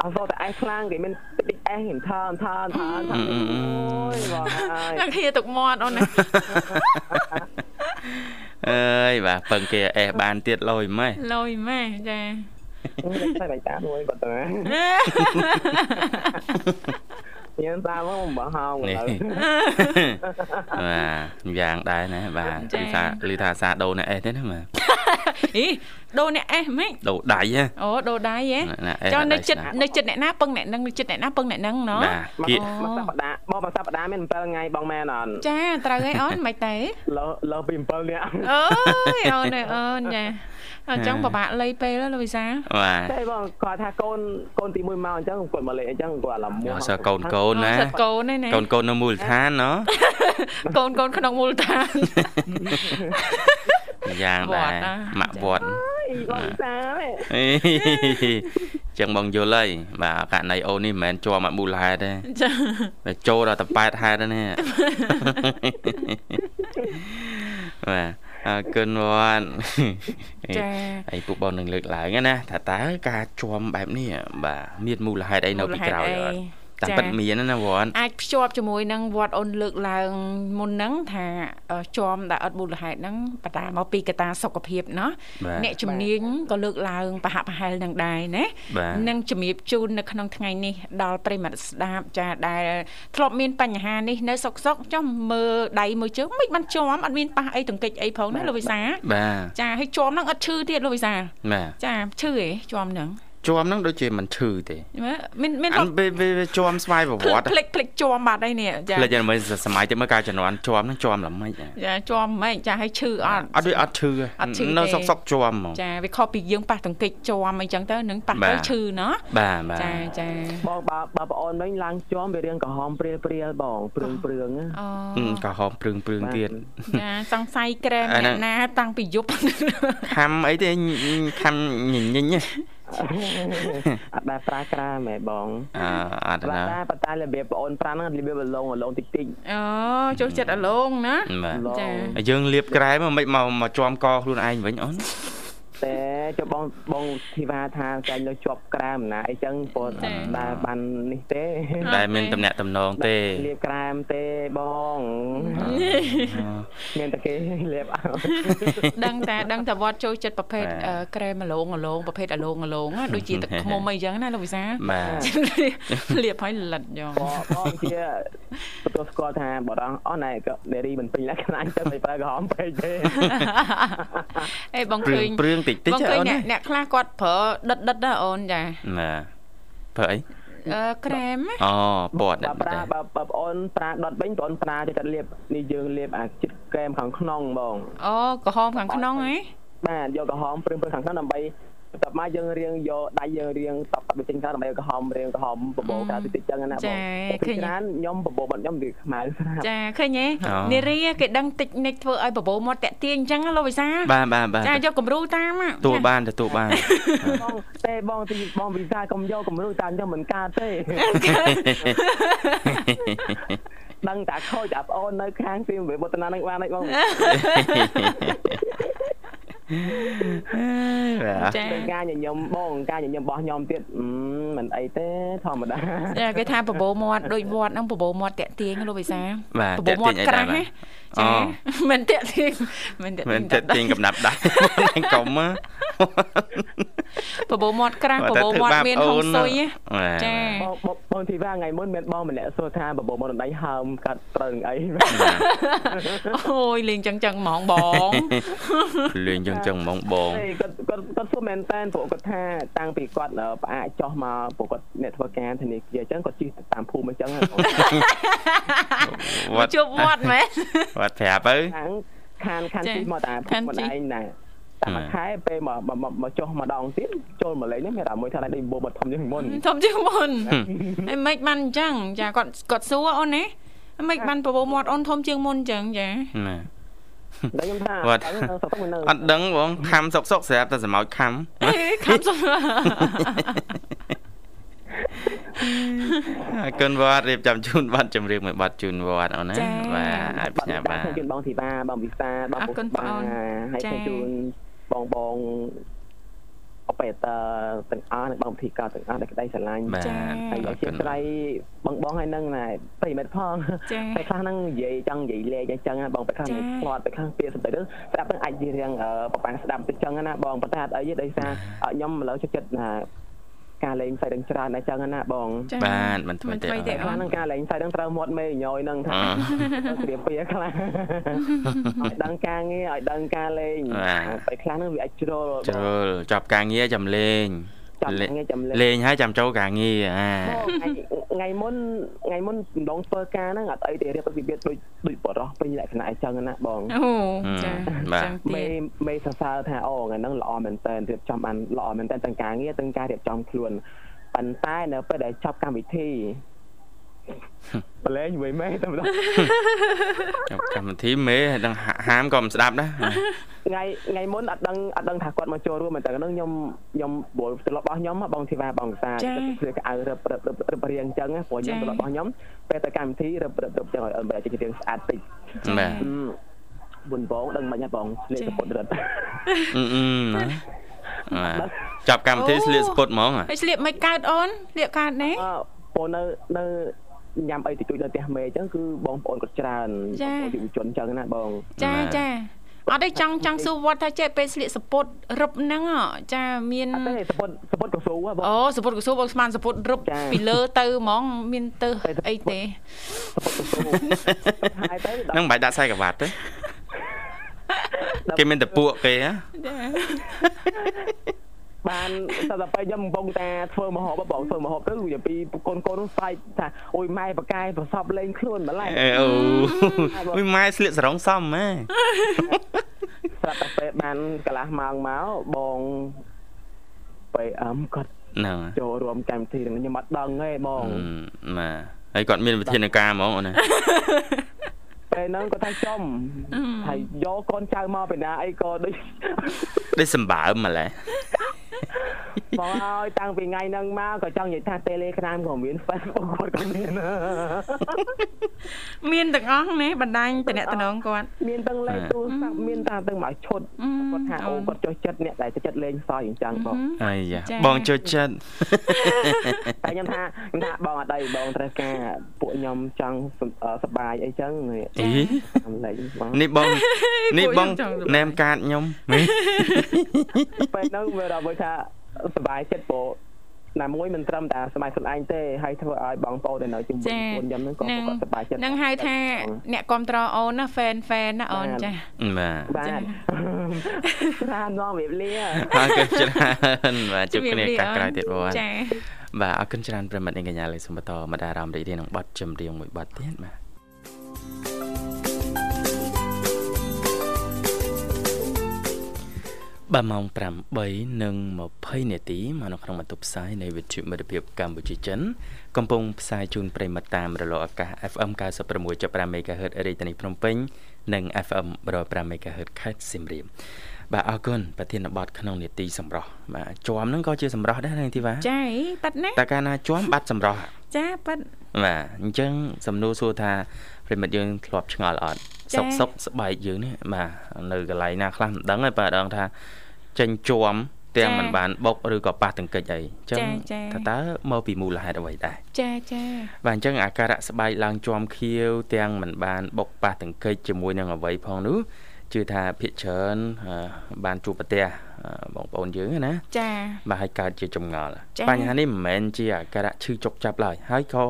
G: អត់តែអេសខ្លាំងគេមានតិចអេសហិនថនថនថនអូយបងហើយ
A: នឹងគ្នាទុកមាត់អូន ណា
B: អើយបាទពឹងគេអេសបានទៀតលយម៉េះ
A: លយម៉េះ ចា
G: តែបាយតាមួយគាត់ទៅញ៉ាំតាមមកបងហោង
B: ឡើយ បាទយ៉ាងដែរណាបាទគឺថាឮថាសាដូអ្នកអេសទេណាបាទ
A: អីដូអ្នកអេសហ្មង
B: ដូដៃហ៎
A: អូដូដៃហ៎ចូលនៅចិត្តនៅចិត្តអ្នកណាពឹងអ្នកនឹងនៅចិត្តអ្នកណាពឹងអ្នកនឹងណ៎
G: បាទមកសប្តាហ៍មកមកសប្តាហ៍មាន7ថ្ងៃបងមែនអត់
A: ចាត្រូវហើយអូនមិនទេ
G: លើលើពី7នេះ
A: អូយ អូនអូនចាអញ្ចឹងពិបាកលៃពេលលូវីសា
B: បាទ
G: តែបងគាត់ថាកូនកូនទី1មកអញ្ចឹងគាត់មកលេងអញ្ចឹងគាត់អារម្មណ៍
B: សើកូនកូនណា
A: សើកូនណា
B: កូនកូននៅមូលដ្ឋានណ៎
A: កូនកូនក្នុងមូលដ្ឋាន
B: យ៉ាងដែរម៉ាក់វត្ត
G: បងសា
B: ចឹងបងយល់ហើយបាទករណីអូននេះមិនមែនជាប់មកមូលហេតុទេ
A: ចា
B: តែចូលដល់តែប៉ែតហេតុ ហ្នឹងបាទអើគុណវត្ត
A: ចា
B: ហើយពួកបងនឹងលើកឡើងណាថាតើការជួមបែបនេះបាទមានមូលហេតុអីនៅពីក្រោយអត់តែប៉ិតមានណាវត្ត
A: អាចភ្ជាប់ជាមួយនឹងវត្តអូនលើកឡើងមុនហ្នឹងថាជាប់ដែលអត់មូលហេតុហ្នឹងបតាមកពីកត្តាសុខភាពណោះអ្នកជំនាញក៏លើកឡើងប្រហាក់ប្រហែលនឹងដែរណានឹងជំរាបជូននៅក្នុងថ្ងៃនេះដល់ប្រិមត្តស្ដាប់ចាដែលធ្លាប់មានបញ្ហានេះនៅសុកសុកចំមើលដៃមើលជើងមិនបានជាប់អត់មានប៉ះអីទង្គិចអីផងណាលោកវិសា
B: បាទ
A: ចាហើយជាប់ហ្នឹងអត់ឈឺទៀតលោកវិសា
B: បាទ
A: ចាឈឺឯងជាប់ហ្នឹង
B: ជាប់ហ្នឹងដូចជាមិនឈឺទេ
A: មើលមានមាន
B: អានពេលពេលជាប់ស្វ័យប្រវ ត្តិ
A: ផ្លិចផ្លិចជាប់បាត់អីនេះចា
B: ផ្លេចយ៉ាងមិនសម័យទៅមើលការជំនាន់ជាប់ហ្នឹងជាប់ល្មិចហ៎
A: ចាជាប់ហ្មងចាឲ្យឈឺអត់
B: អត់ដូចអត់ឈឺហ៎
A: អត់ឈឺទេ
B: នៅសុកសុកជាប់ហ្មង
A: ចាវាខុសពីយើងប៉ះទង្គិចជាប់អីចឹងទៅនឹងប៉ះ
B: បា
A: ទៅ
B: ទ
A: ឈឺណោះ
B: បាទបាទ
A: ចាចា
G: បងបើបើប្អូនវិញឡើងជាប់វារៀងក្រហមព្រាលព្រាលៗបងព្រឿងព្រឿ ងៗណា
A: អូ
B: អឺក៏ហោមព្រឹងព្រឹង
G: បាទ
B: ទៀត
A: ចាសង្ស័យក្រែម
B: អាហ្នឹង
A: អ្នកណាតាំងពី យប់
B: ខំអីទេញញខំញញញហ៎
G: អត់ដែរប្រើក្រាមហ៎បង
B: អឺអត់
G: បាទ
B: ណា
G: តែប៉ុន្តែរបៀបប្អូនប្រាំហ្នឹងរបៀបរលងរលងតិចតិច
A: អូចូលចិត្តអាលងណា
B: បាទ
G: រលង
A: ចា
B: យើងលាបក្រែមកមិនមកមកជាប់កខ្លួនឯងវិញអូន
G: តែចុះបងបងធីវ៉ាថាចាញ់នៅជាប់ក្រាមណាអីចឹងប៉ុន្តែដែរបាននេះទេ
B: ដែលមានតំណែងតំណងទេ
G: លាបក្រាមទេបងមានតែគេលាបអត់
A: ដឹងតែដឹងតែវត្តចូលចិត្តប្រភេទអឺក្រែមអាលងអាលងប្រភេទអាលងអាលងណាដូចជាទឹកឃ្មុំអីចឹងណាលោកវិសាល
B: បាទ
A: លៀបឲ្យលិតយ៉ ង
G: បងបងជាទទួលស្គាល់ថាបរងអស់ណែក៏ដេរីមិនពេញលក្ខណៈចឹងមិនប្រើក្រហមពេកទេ
A: អេបង
B: ព្រឿ
A: ឃើ
B: ង
A: ញ
B: ព្រឿងតិចតិច
A: បង
B: ច
A: ឃើញ
B: អូនណា
A: អ្នកអ្នកខ្លះគាត់ប្រើដិតដិតណាអូនចា
B: ណាប្រើអី
A: អឺក្រែមណា
B: អូពណ៌
G: បើ
B: នេះ
G: ប្រា
B: ដែរ
G: បើបើប្អូនប្រាដុតវិញប្អូនប្រាចូលចិត្តលាបនេះយើងលាបអាជិតកែមខាងក្នុងបង
A: អូក្រហមខាងក្នុងហ៎
G: បាទយកក្រហមព្រឹងព្រឹងខាងក្នុងដើម្បីបន្ទាប់មកយើងរៀងយកដៃយើងរៀងតបតបចេញខាងដើម្បីឲ្យក្រហមរៀងក្រហមបបោកាតិចតិចចឹងណាបងពីច្រើនខ្ញុំបបោបាត់ខ្ញុំវាខ្មៅស្រាប់
A: ចាឃើញហ៎នារីគេដឹងតិចនិចធ្វើឲ្យបបោមាត់តាក់ទាញអញ្ចឹងណាលោកវិសាល
B: បាទបាទបាទ
A: ចាយកគំរូតាមហ៎
B: ទទួលបានទទួលបាន
G: បងតែបងទីបងវិសាកុំយកគំរូតាអញ្ចឹងមិនកើតទេដឹងតែខូចអាប្អូននៅខាងពីវិវត្តនានឹងបានហ្នឹងបង
B: បាទ
A: ចា
G: ការញញឹមបងការញញឹមរបស់ខ្ញុំទៀតមិនអីទេធម្មតា
A: ចាគេថាបបោមាត់ដូចវត្តហ្នឹងបបោមាត់តាក់ទាញណាលោកវិសាល
B: បាទ
A: បបោមាត់ក្រាស់
B: ហ៎
A: ណាចាមិនតាក់ទាញមិនតាក់
B: មែ
A: ទាញ
B: ន
A: ដិ
B: តែ
A: តដិត
B: ទៀងកំណាប់ ដែរហ្នឹងកុំហ៎
A: បបោមាត់ក្រាស់បបោមាត់មានហុងស៊ុយ
B: បាទ
A: ចា
G: បងបងបងធីវ៉ាថ្ងៃមុនមានបងម្នាក់សួរថាបបោមកដណ្ដៃហើមកាត់ត្រូវនឹងអី
A: អូយលេងចឹងចឹងហ្មងបង
B: លេងយ៉ាងចឹងហ្មងបង
G: ហេ គាត់គាត់គាត់សួរមែនតើព្រោះគាត់ថាតាំងពីគាត់អឺផ្អាកចោះមកព្រោះគាត់អ្នកធ្វើការធនាគារអញ្ចឹងគាត់ជិះតាមភូមិអញ្ចឹងហ៎បង
B: វត្ត
A: ជួបវត្តមែន
B: វត្តប្រាប់ទៅ
G: ខាងខានខាន
A: ចា៎
G: ជិះមកតាភូ
A: ខាន
G: មិ
A: ជិះ
G: ខ្លួនឯងណាតែមួយខែពេលមកមកមកមកចោះម្ដងទៀតចូលមកលេងនេះមានតែមួយថាដៃបបោមកធំជាងមុន
A: ធំជាងមុនអីមិនបានអញ្ចឹងចាគាត់គាត់សួរអូនណាមិនបានបបោមាត់អូនធំជាងមុនអញ្ចឹងចា
B: ណា
G: តែខ្ញុំថា
B: វត្ត
G: អត់ដឹងសុខមិននៅ
B: អត់ដឹងបងខំសុកសុកស្រាប់តែសម្ោចខំ
A: អេខំសួរ
B: អរគុណវត្តរៀបចំជូនប័ណ្ណជំរាបមួយប័ណ្ណជូនវត្តអូនណាបាទឲ្យ
G: បា
B: ផ្ញើ
G: ត់
B: បាទ
G: ខ្ញុំជូនបងធីវ៉ាបងវិសាបងពុស្បាហើយខ្ញុំជូនបងបងអបេតទាំងអស់និងបងពិធីការទាំងអស់ដែលក្តីស្រឡាញ់
B: បាទ
G: ហើយ
B: អ
G: អ
B: រ
G: ធិ
B: គុណ
G: ស្ឋានបងបងហើយនឹងណែប្រិមិត្តផង
A: ចា
G: ពេលខ្លះហ្នឹងនិយាយចង់និយាយលេខអញ្ចឹងណាបងពេលខ្លះនិយាយផ្លាត់ពេលខ្លះពាក្យសម្ដីហ្នឹងស្ដាប់ហ្នឹងអាចនិយាយរៀងអឺប្រហែលស្ដាប់ទៅអញ្ចឹងណាបងប៉ុន្តែអត់អីទេដោយសារអត់ខ្ញុំឥឡូវចូលចិត្តណាការលេងសៃដឹងច្រើនអញ្ចឹងណាបង
A: ចា
B: បាទមិនធ្វើ
A: មិន
B: ទេ
A: ធ្វើទេ
G: ខ្លះហ្នឹងការលេងសៃដឹងត្រូវមាត់មេញយហ្នឹងថា
B: អឺ
G: គ្រាពីខ្លះឲ្យដឹងការងារឲ្យដឹងការលេង
B: បាទ
G: ពេលខ្លះហ្នឹងវាអាចជ្រុលបង
B: ជ្រុលចប់ការងារចាំលេង
G: ចាំ
B: លេង
G: ថ្ងៃចាំលេង
B: លេងហើយចាំចូលការងារអា
G: បងថ្ងៃថ្ងៃមុនថ្ងៃមុនដំឡងធ្វើការហ្នឹងអត់អីទេរៀបរបៀបដូចដូចបរោះពេញលក្ខណៈអញ្ចឹងណាបង
A: អូចាចឹងទៀ
G: មេ
A: ត
G: មេសរសើរថាអូថ្ងៃហ្នឹងល្អមែនតើរៀបចំបានល្អមែនតើទាំងការងារទាំងការរៀបចំខ្លួនប៉ុន្តែនៅពេលដែលចប់កម្មវិធីប្រឡែងមួយមេតែម្ដង
B: ចប់កម្មវិធីមេដឹងហាហាមក៏មិនស្ដាប់ ដែរ
G: ថ្ងៃថ្ងៃមុនអត់ដឹងអត់ដឹងថាគាត់មកចូលរួមមែនតើហ្នឹងខ្ញុំខ្ញុំព្រោះត្រឡប់របស់ខ្ញុំហ៎បងធីវ៉ាបងវិសាគឺក្អៅរឹបរឹបរឹបរឹបរៀងអញ្ចឹងណាព្រោះខ្ញុំត្រឡប់របស់ខ្ញុំពេលទៅកម្មវិធីរឹបរឹបរឹបអញ្ចឹងឲ្យអត់បែរជារៀងស្អាតតិច
B: បាទ
G: មុនបងដឹងមិនហ៎បងលេខសពុតរត់
B: អឺអឺណាបាទចាប់កម្មវិធីស្លៀកស្ពុតហ្មងហ៎
A: ហើយស្លៀកមិនកើតអូនស្លៀកកើតណា
G: អឺបងនៅនៅញ៉ាំអីតិចតួចនៅផ្ទះមេអញ្ចឹងគឺបងប្អូនគាត់ច្រើន
A: ចា៎
G: បងប្អូនយុវជនអញ្ចឹងណាបង
A: ចាចាអត់ទេចង់ចង់សួរវត្តថាចេះពេលស្លៀកសពុតរឹបហ្នឹងហ៎ចាមាន
G: អត់ទេសពុតសពុតក៏ស៊ូហ៎បង
A: អូសពុតកសួរបងស្មានសពុតរឹប
G: ចា៎
A: ពីលើទៅហ្មង មានទៅ
G: តែសពុត
A: អីទេ
G: សពុតក៏ស៊ូហើយទៅដល់
B: ហ្នឹងមិនបាច់ដាក់ខ្សែក្រវ៉ាត់ទេគេមានតែពួកគេហ៎
G: បានតែដល់ពេលខ្ញុំកំពុងតែធ្វើមហោបបងធ្វើមហោបទៅវាពីកូនកូននោះស្រែកថាអូយម៉ែបកាយប្រសពលេងខ្លួនម្ល៉េះ
B: អេអូអូយម៉ែស្លៀកសរងសមម៉ែ
G: ស្រាប់តែពេលបានកន្លះម៉ោងមកបងពេលអឹមគាត់
B: ហ្នឹង
G: ចូលរួមកម្មវិធីនឹងខ្ញុំអត់ដឹងទេបង
B: ម៉ែហើយគាត់មានវិធានការហ្មងអូនណា
G: ពេលហ្នឹងគាត់ថាចំហើយយកកូនចៅមកពីណាអីក៏ ដូច
B: ដូចសម្បើមម្ល៉េះ
G: បងអើយតាំងពីថ្ងៃហ្នឹងមកក៏ចង់និយាយថា Telegram ក៏មាន Facebook គាត់ក៏មាន
A: មានទាំងអស់ណាបណ្ដាញតំណងគាត់
G: មានទាំងលេខទូរស័ព្ទមានតាទាំងមកឈុតគាត់ថាអូគាត់ចុះចិត្តអ្នកដែលចុះចិត្តលេងសើចអញ្ចឹងបង
B: អាយ៉ាបងចុះចិត្ត
G: តែខ្ញុំថាខ្ញុំថាបងអត់ដីបងត្រូវការពួកខ្ញុំចង់សប្បាយអីចឹង
B: អីនេះបងនេះបងណែមកាតខ្ញុំ
G: ពេលហ្នឹងវាដល់ថាសบายចិត្តព្រោះណាមួយមិនត្រឹមតែសម័យខ្លួនឯងទេហើយធ្វើឲ្យបងប្អូនដែលនៅជាមួយខ្លួនខ្ញុំហ្នឹងក៏គាត់សប្បាយចិត្ត
A: នឹងហៅថាអ្នកគ្រប់ត្រអូនណា fan fan ណាអូនចា
B: បាទ បាទ
G: ច្រើននាំរៀបលា
B: ហើយគេ ច្រើនបាទជួបគ្នាកាក់ក្រោយទៀតបងចាបាទអរគុណច្រើនប្រិមិត្តនាងកញ្ញាលើសំបតមកដារ៉ាមរីករាយនឹងបတ်ចម្រៀងមួយបတ်ទៀតបាទបាទម៉ោង8:20នាទីមកនៅក្នុងបន្ទប់ផ្សាយនៃវិទ្យុមិត្តភាពកម្ពុជាចិនកំពុងផ្សាយជូនប្រិមត្តតាមរលកអាកាស FM 96.5 MHz រាជធានីភ្នំពេញនិង FM 105 MHz ខេត្តសៀមរាបបាទអរគុណប្រធានបទក្នុងនេតិសម្រាប់បាទជាប់ហ្នឹងក៏ជាសម្រាប់ដែរនាងធីវ៉ា
A: ចាប៉ាត់ណា
B: តើកាលណាជាប់បាត់សម្រាប់
A: ចាប៉ាត់
B: បាទអញ្ចឹងសំណួរសួរថាប្រិមត្តយើងធ្លាប់ឆ្ងល់អត់សុកសុកស្បែកយើងនេះបាទនៅកន្លែងណាខ្លះមិនដឹងទេបាទដឹងថាចេញជួមទាំងមិនបានបុកឬក៏ប៉ះទង្គិចអីអញ្ចឹងថាតើមកពីមូលហេតុអ្វីដែរ
A: ចាចា
B: បាទអញ្ចឹងអាការៈស្បែកឡើងជួមខៀវទាំងមិនបានបុកប៉ះទង្គិចជាមួយនឹងអ្វីផងនោះជឿថាភិកច្រើនបានជួបប្រទះបងប្អូនយើងណា
A: ចា
B: បាទហើយកើតជាចម្ងល់បញ្ហានេះមិនមែនជាអាការៈឈឺចុកចាប់ឡើយហើយក៏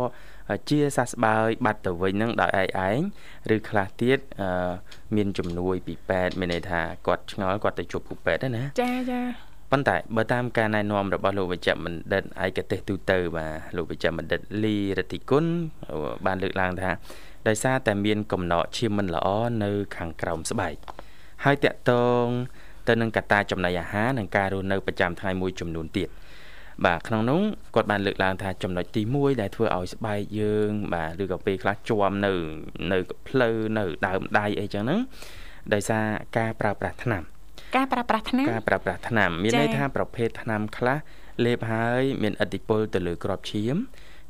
B: ជាសះស្បើយបាត់ទៅវិញនឹងដោយឯឯងឬខ្លះទៀតមានជំនួយពីពេទ្យមានន័យថាគាត់ឆ្ងល់គាត់ទៅជួបគ្រូពេទ្យណា
A: ចាចា
B: ប៉ុន្តែបើតាមការណែនាំរបស់លោកវេជ្ជបណ្ឌិតឯកទេសទូទៅបាទលោកវេជ្ជបណ្ឌិតលីរតិគុណបានលើកឡើងថាដោយសារតែមានកំណកឈាមមិនល្អនៅខាងក្រោមស្បែកហើយតកតងទៅនឹងកត្តាចំណីអាហារនិងការរស់នៅប្រចាំថ្ងៃមួយចំនួនទៀតបាទក្នុងនោះគាត់បានលើកឡើងថាចំណុចទី1ដែលធ្វើឲ្យស្បែកយើង បាទឬក៏ពេលខ្លះជួមនៅនៅផ្លូវនៅដើមដៃអីចឹងហ្នឹងដោយសារការប្រើប្រាស់ថ្នាំ
A: ការប្រើប្រាស់ថ្នាំ
B: ការប្រើប្រាស់ថ្នាំមានន័យថាប្រភេទថ្នាំខ្លះលេបហើយមានឥទ្ធិពលទៅលើក្របឈាម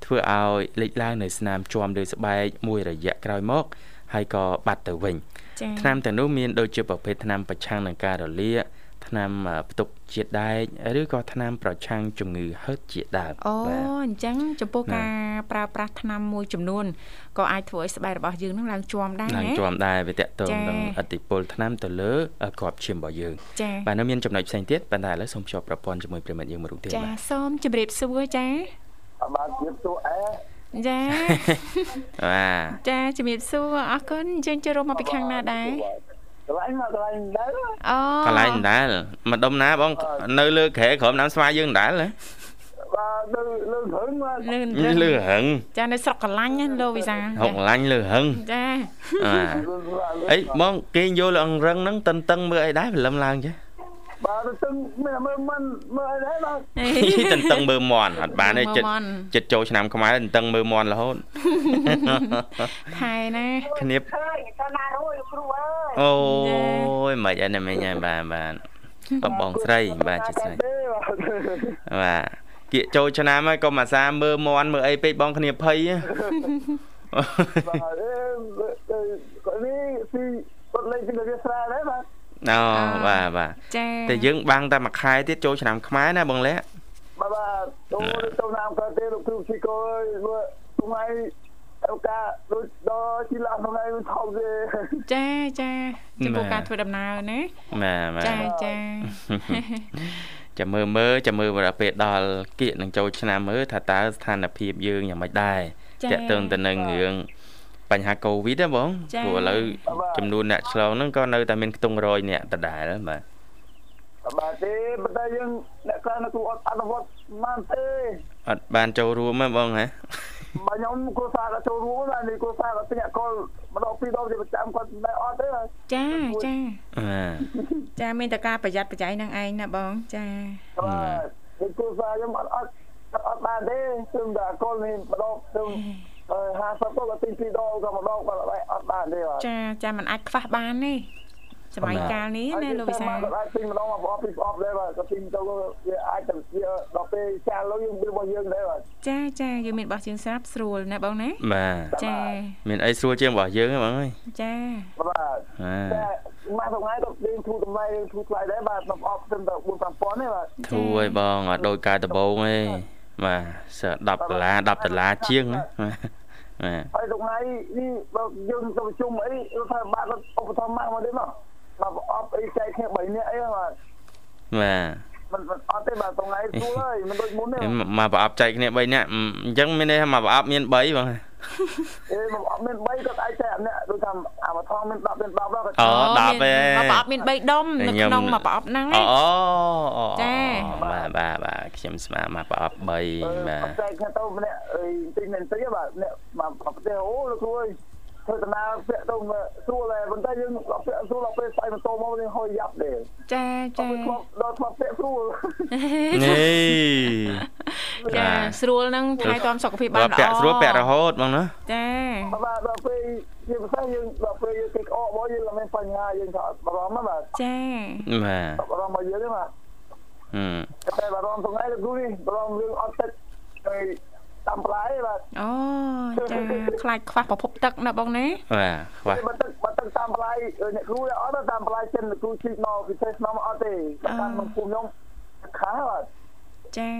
B: ធ្វើឲ្យលេចឡើងនៅស្នាមជួមលើស្បែកមួយរយៈក្រោយមកហើយក៏បាត់ទៅវិញថ្នាំទាំងនោះមានដូចជាប្រភេទថ្នាំប្រឆាំងនឹងការរលាកថ្នាំផ្ទុកជាតិដែកឬក៏ថ្នាំប្រឆាំងជំងឺហឺតជាដើម
A: អូអញ្ចឹងចំពោះការប្រើប្រាស់ថ្នាំមួយចំនួនក៏អាចធ្វើឲ្យស្បែករបស់យើងនឹងឡើងជួមដែរណា
B: ឡើងជួមដែរវាតកតងនឹងអតិពលថ្នាំទៅលើក្របឈាមរបស់យើងបាទនៅមានចំណុចផ្សេងទៀតប៉ុន្តែឥឡូវសូមភ្ជាប់ប្រព័ន្ធជាមួយប្រិមិត្តយើងមួយរូបទៀត
A: ចាសូមជម្រាបសួរចា
E: បាទជម្រាបសួរអេ
A: ចា
B: បាទ
A: ចាជំរាបសួរអរគុណយើងចូលរួមមកពីខាងណាដែរ
E: កន្លែងមកកន្លែងដែរ
A: អូ
B: កន្លែងដែរមកដុំណាបង នៅលើក្រែក្រោមដើមស្វាយយើងដែរហ៎
E: បាទលើលើហឹង
A: លើ
B: លើហឹង
A: ចានៅស្រុកកន្លាញ់លោកវិសា
B: ស្រុកកន្លាញ់លើហឹង
A: ចា
B: អីបងគេយកលើអង្រឹងហ្នឹងតឹងតឹងមើលអីដែរព្រលឹមឡើងចា
E: បាទតឹងមើលមើលមិនមើលអីដែរបាទ
B: តឹងតឹងមើលមន់អត់បានទេចិត្តចិត្តចូលឆ្នាំខ្មែរតឹងមើលមន់រហូត
A: ថៃណា
B: គ្នា
E: ឃើញទៅណារួយគ្រូអើយ
B: អូយមិនអីណាមិញហើយបាទបាទបងបងស្រីបាទជាស្រី បាទគៀកចូលឆ្នាំហើយក៏មកសាមើលមន់មើលអីពេកបងគ្នាភ័យ
E: បាទ អឺនេះពីគាត់លេងពីវាស្រាដែរបាទ
B: អូបាទបាទ
A: ចា
B: តែយើងបាំងតែមួយខែទៀតចូលឆ្នាំខ្មែរណាបងលាក់
E: បាទបាទចូលចូលឆ្នាំកើតទេលោកគ្រូស៊ីកអើយមើលថ្ងៃអូកាដូចដល់ជីឡាថ្ងៃថោកទេ
A: ចាចាចំពោះការធ្វើដំណើរណា
B: បាទ
A: ចាចា
B: ចាំមើលមើលចាំមើលពេលដល់គៀកនឹងចូលឆ្នាំមើលថាតើស្ថានភាពយើងយ៉ាងម៉េចដែរតើតើទៅនឹងរឿងបញ្ហាកូវីដហ្នឹងបងព្រោះឥឡូវចំនួនអ្នកឆ្លងហ្នឹងក៏នៅតែមានខ្ទង់រយអ្នកដដែលបាទ
E: ប បាទទេបើតែយើងអ្នកខ្លះនៅគ្រូអត់អនុវត្តបានទេ
B: អត់បានចូលរួមហ៎បងហ៎
E: បើខ្ញុំគ្រូសាស្ត្រក៏ចូលរួមដែរនេះគ្រូសាស្ត្រក៏ទិញអកលម្ដងពីរដងជាប្រចាំគាត់មិនដែរអត់ទេ
A: ចាចា
B: អា
A: ចាមានតែការប្រយ័ត្នប្រយែងនឹងឯងណាបងចា
E: បាទគ្រូសាស្ត្រខ្ញុំអត់អត់អត់បានទេគឺតែអកលនេះម្ដងទៅ50ក៏ទិញពីរដងក៏ម្ដងក៏អត់បានទេបាទ
A: ចាចាมันអាចខ្វះបានទេសម័យកាលនេះណាលោកវិសា
E: លអាចទិញម្ដងមកអស់ពីស្អប់ដែរបាទក៏ទិញទៅវាអាចទៅវាដល់ពេលចាលុយយើងរបស់យើងដែរបាទ
A: ចាចាយើងមានរបស់ជើងស្រាប់ស្រួលណាបងណា
B: បាទ
A: ចា
B: មានអីស្រួលជាងរបស់យើងហ៎បងអើយ
A: ចា
E: បាទតែមកថ្ងៃក៏យើងធូរតម្លៃយើងធូរថ្លៃដែរបាទខ្ញុំអប់ត្រឹមតែ4 5000ទេបាទ
B: ធូរឲ្យបងអត់ដូចកាយដបងទេបាទស10ដុល្លារ10ដុល្លារជាងណាបាទ
E: ហើយថ្ងៃនេះបើយើងទៅប្រជុំអីរដ្ឋាភិបាលរដ្ឋឧបត្ថម្ភមកមកទេមកបាទអប់អីចែកគ្នា3នាក់អីបា
B: បា
E: ទ
B: ទ
E: មិនអត់ទេបាទថ្ងៃស្រួលហើយមិនដូចមុនទេ
B: មកប្រអប់ចែកគ្នា3នាក់អញ្ចឹងមានន័យថាមកប្រអប់មាន3បង
E: អេមកអប់មាន3គាត់អាចចែកអ្នកដូចថាអាវថងមាន10មាន10ដល់គាត់
B: អូ10ទេ
A: មកប្រអប់មាន3ដុំនៅក្នុងមកប្រអប់ហ្នឹង
B: អូ
A: អូចា
B: បាទបាទបាទខ្ញុំស្មានមកប្រអប់3បាទ
E: ចែកគ្នាទៅម្នាក់អីទីមិនទីបាទអ្នកមកប្រអប់ទេអូលោកគ្រូអើយធ្វើដំណើរពាក់ទៅស្រួលដែរប៉ុន្តែយើងពាក់ស្រួលដល់ពេលស្អីម៉ូតូមកយើងហុយយ៉ាប់ទេ
A: ចាចា
E: ដល់ធ្លាប់ពាក់ស្រួល
B: នេះ
A: ចាស្រួលហ្នឹងថែទាំសុខភាពបានល្អ
B: ពាក់ស្រួលពាក់រហូតបងណា
A: ចា
E: បាទដល់ពេលជាភាសាយើងដល់ពេលយើងគេក្អកមកយើងមានបញ្ហាយើងថាបារម្ភណាបាទ
A: ចា
B: បាទ
E: បារម្ភមកយើងទេបាទ
B: ហឹម
E: តែបារម្ភថ្ងៃលោកគ្រូនេះបារម្ភរឿងអត់ទឹកហើយតាមប្រៃបាទ
A: អូចាខ្លាចខ្វះប្រភពទឹកណាបងណា
B: បាទខ្វះ
E: បើទឹកបើទឹកតាមប្រៃអ្នកគ្រូអត់តាមប្រៃចិនគ្រូជីកមកពិសេសខ្ញុំអត់ទេតាមមកគុំខ្ញុំខាបាទ
A: ចា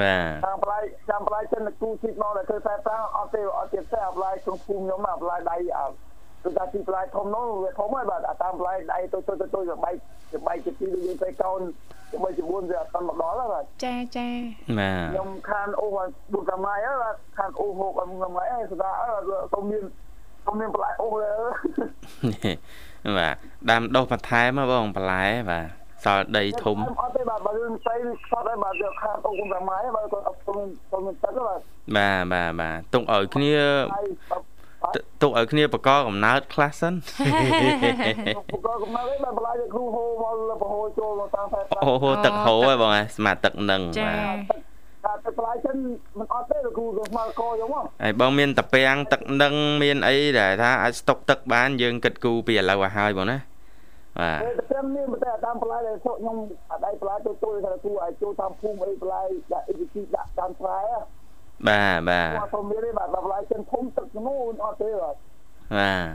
B: បាទ
E: តាមប្រៃតាមប្រៃចិនគ្រូជីកមកដែលធ្វើតែតាអត់ទេអត់ទៀតតែអាប្រៃក្នុងគុំខ្ញុំអាប្រៃដៃអាគឺថាទីប្រៃធំនោះវាធំហើយបាទអាតាមប្រៃដៃតូចតូចតូចបែកបែកជាទីយើងទៅកោនជាមួយជាមួយវាអត់មកដល់ហ្នឹង
A: ចាចា
B: បាទ
E: ខ្ញុំខានអូសបុកតាមហើយខានអូសហូបអត់មកហើយស្ដាអត់ទៅមានទៅមានបន្លែអូស
B: បាទដាំដុះបន្ថែមបងបន្លែបាទសល់ដីធំ
E: អត់ទេបាទបើយើងស្អីខ្សត់ហើយបាទយកខានអូសបុកតាមហើយបើគាត់អត់ទៅទៅមានទឹកបា
B: បា
E: ទ
B: ទបាទបាទទុកឲ្យគ្នាទុកឲ្យគ្នាបកកំណើតខ្លះសិន
E: បកកំណើតឯងបន្លាយគ្រូហូមកហូចូលមកតាមតែ
B: អូហូទឹកហូហ៎បងស្មាទឹកនឹង
A: ចា
E: តែទឹកបន្លាយចឹងមិនអត់ទេលោកគ្រូក៏ស្មាកោយើងមក
B: ហើយបងមានតាពាំងទឹកនឹងមានអីដែលថាអាចស្តុកទឹកបានយើងគិតគូរពីឥឡូវឲ្យហើយបងណាបាទ
E: តែត្រឹមនេះមិនតែតាមបន្លាយដែលខ្ញុំអត់ដៃបន្លាយទៅទូលថាគ្រូឲ្យចូលតាមភូមិអីបន្លាយដាក់អ៊ីជីដាក់តាមស្រែហ៎
B: បាទបាទ
E: គាត់ទៅមានទេបាទដល់ឡាយចិនភូមិទឹកនោះអត់ទេបាទ
B: បាទ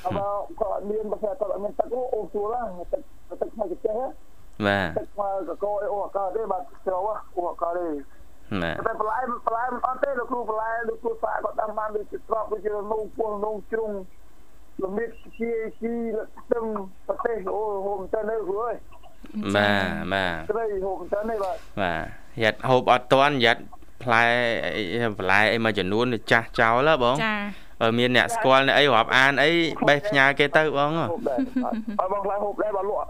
E: អើគាត់មានបើគាត់អត់មានទឹកនោះអូស្រួលហ្នឹងទឹកទឹកមកចេះ
B: បាទ
E: ទឹកមកកកអូអកទេបាទជ្រៅអូអកទេ
B: បាទ
E: តែបន្លែបន្លែមិនអត់ទេលោកគ្រូបន្លែលោកគ្រូសាគាត់ដាំបានដូចស្រប់ដូចនៅពោះនៅជ្រុងលំិតជាជីលក្ខំប្រទេសអូហូមទៅនៅគ្រូអើយ
B: បាទបាទ
E: ស្រីហូមទៅនេះបាទ
B: បាទយ៉ាត់ហូបអត់តាន់យ៉ាត់ផ្លែបន្លែអីមួយចំនួនចាស់ចោលហ៎បង
A: ចា
B: អឺមានអ្នកស្គាល់អ្នកអីរាប់អានអីបេះផ្ញើគេទៅបង
E: អត់បងខ្លះហូបដែរបាទលក់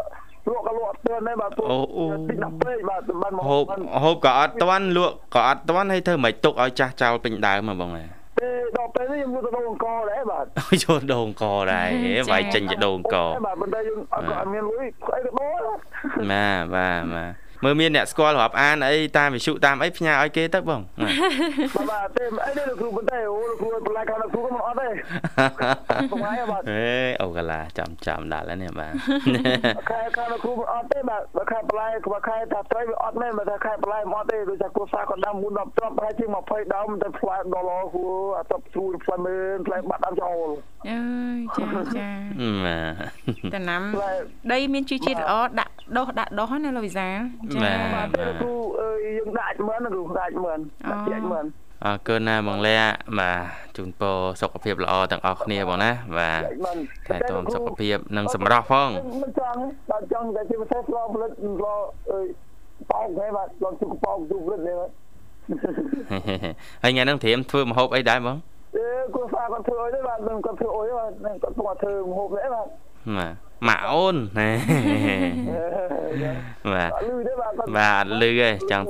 E: លក់ក៏លក់អត់ទាន់ដែរបាទទូតិចដល់ពេកបាទបាន
B: ហូបហូបក៏អត់ទាន់លក់ក៏អត់ទាន់ហើយធ្វើមិនទុកឲ្យចាស់ចោលពេញដើមហ៎បងហ៎
E: េដល់ពេលនេះយើងទៅដូងអង្គរដែរបាទ
B: ចូលដូងអង្គរដែរវាយចេញទៅដូងអង្គរ
E: បាទប៉ុន្តែយើងអត់មានលុយស្អីទៅបង
B: ណាបាទបាទមើលមានអ្នកស្គាល់រាប់អានអីតាមវិសុតាមអីផ្ញើឲ្យគេទៅបង
E: បាទទេអីនេះលោកគ្រូប៉ុន្តែអូលោកគ្រូបន្លែខាងលោកគ្រូក៏មិនអត់ទេបងហើយបាទ
B: អេអូកាឡាចាំចាំដល់ហើយនេះបាទ
E: ខែខាងលោកគ្រូមិនអត់ទេបាទបើខែបន្លែក្បខែថាត្រីវាអត់មែនបើថាខែបន្លែមិនអត់ទេដូចថាគ្រូសាគាត់ដាំ4 10ត្រប់ប្រហែលជាង20ដុំទៅផ្លែដុល្លារគ្រូអាត្រប់ស្រួលផ្លែមើលផ្លែបាត់ដាំចូល
A: អើយចាចា
B: បាទ
A: តំណាំដីមានជីជាតិល្អដាក់ដុះដាក់ដុះណាលោកវិសាល
B: ចាបាទ
E: គ្រូអើយយើងដាក់មើលគ្រូដាក់មើលដាក់ជាមើល
B: អរគុណណាបងលាបាទជូនពរសុខភាពល្អទាំងអស់គ្នាបងណាបាទថែទាំសុខភាពនិងសម្រស់ផង
E: មិនចង់ដល់ចង់តែជាពិសេសឡផលិតឡអើយបោកហ្នឹងបាទឡជុកបោកជុកផលិតហ្នឹង
B: ហើយថ្ងៃហ្នឹងត្រៀមធ្វើម្ហូបអីដែរបង
E: អឺគ្រូសាគាត់ធ្វើអីទេបាទគាត់ធ្វើអីបាទគាត់គាត់ធ្វើម្ហូបដែរបាទ
B: ណា ម៉ាក់អូន ណាបាទ
E: Dạ,
B: បាទអត់លឺទេចង់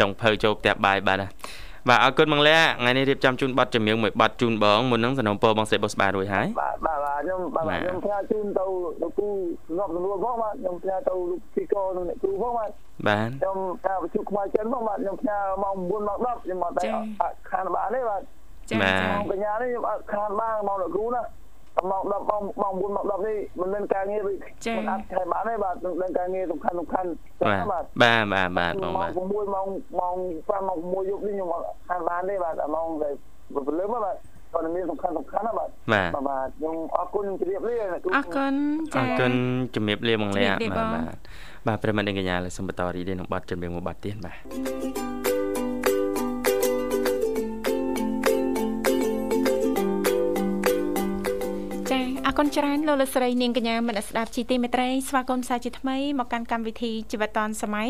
B: ចង់ភៅចូលផ្ទះបាយបាទបាទអរគុណបងលាថ្ងៃនេះរៀបចំជូនប័ណ្ណចម្រៀងមួយប័ណ្ណជូនបងមុននឹងសំណពរបងសេបុស្បារួចហើយ
E: បាទបាទខ្ញុំបាទខ្ញុំផ្ញើជូនទៅលោកគ្រូងាប់ទទួលផងបាទខ្ញុំផ្ញើទៅលោកទីកោនិងអ្នកគ្រូផងបាទ
B: បាទ
E: ខ្ញុំថាវិទ្យុខ្មៅចិនផងបាទខ្ញុំផ្ញើម៉ោង9ម៉ោង10ខ្ញុំអត់តែខានបានទេបាទ
A: ចា៎ចា៎
E: កញ្ញានេះខ្ញុំអត់ខានបានម៉ោងលោកគ្រូណាម៉ោង10ម៉ោងម៉ោង9ម៉ោង10នេះមិនមានការងារ
A: ចា៎
E: មិនអត់ខែបានទេបាទមានការងារសំខាន់សំខាន់
B: បាទបាទបាទបាទបងបាទ
E: 6ម៉ោងម៉ោង5ម៉ោង6យប់នេះខ្ញុំអត់ខានបានទេបាទម៉ោងដែលព្រលឹមបាទព័ត៌មានសំខាន់សំខាន់ណាបាទបាទខ្ញុំអរគុណជម្រាបលា
A: អរគុណ
B: ចា៎អរគុណជម្រាបលាបងលាបាទបាទប្រិមត្តនាងកញ្ញាលើសំបតរីនេះនឹងបတ်ជម្រាបមួយបတ်ទៀតបាទ
A: អរគុណច្រើនលោកលោកស្រីនាងកញ្ញាមនស្ដាប់ជីទីមេត្រីស្វាគមន៍សាជាថ្មីមកកាន់កម្មវិធីជីវិតឌွန်សម័យ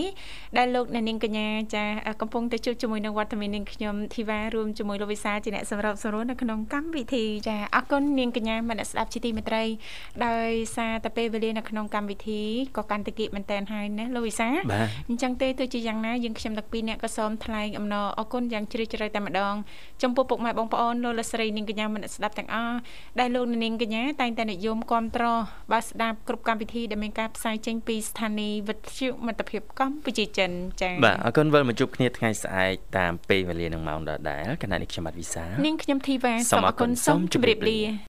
A: ដែលលោកអ្នកនាងកញ្ញាចាកំពុងទៅជួបជាមួយនឹងវត្តមាននាងខ្ញុំធីវ៉ារួមជាមួយលោកវិសាជាអ្នកសម្របសម្រួលនៅក្នុងកម្មវិធីចាអរគុណនាងកញ្ញាមនស្ដាប់ជីទីមេត្រីដោយសារតែពេលវេលានៅក្នុងកម្មវិធីក៏កាន់តែគិតមែនតែនហើយណាលោកវិសាអញ្ចឹងទេទោះជាយ៉ាងណាយើងខ្ញុំទាំងពីរអ្នកក៏សូមថ្លែងអំណរអរគុណយ៉ាងជ្រាលជ្រៅតែម្ដងចំពោះពុកម៉ែបងប្អូនលោកលោកស្រីនាងកញ្ញាមនស្ដាប់ទាំងអស់ដែលលោកអ្នកនាងកញ្ញាតែងតែនិយមគ្រប់ត្របាទស្ដាប់គ្រប់កម្មវិធីដែលមានការផ្សាយចេញពីស្ថានីយ៍វិទ្យុមិត្តភាពកម្ពុជាចិនចា៎
B: បាទអរគុណវិលមកជួបគ្នាថ្ងៃស្អែកតាមពេលវេលានឹងម៉ោងដដែលគណៈនេះខ្ញុំបាទវិសា
A: នាងខ្ញុំធីវ៉ាសូមអរគុណសូមជម្រាបលា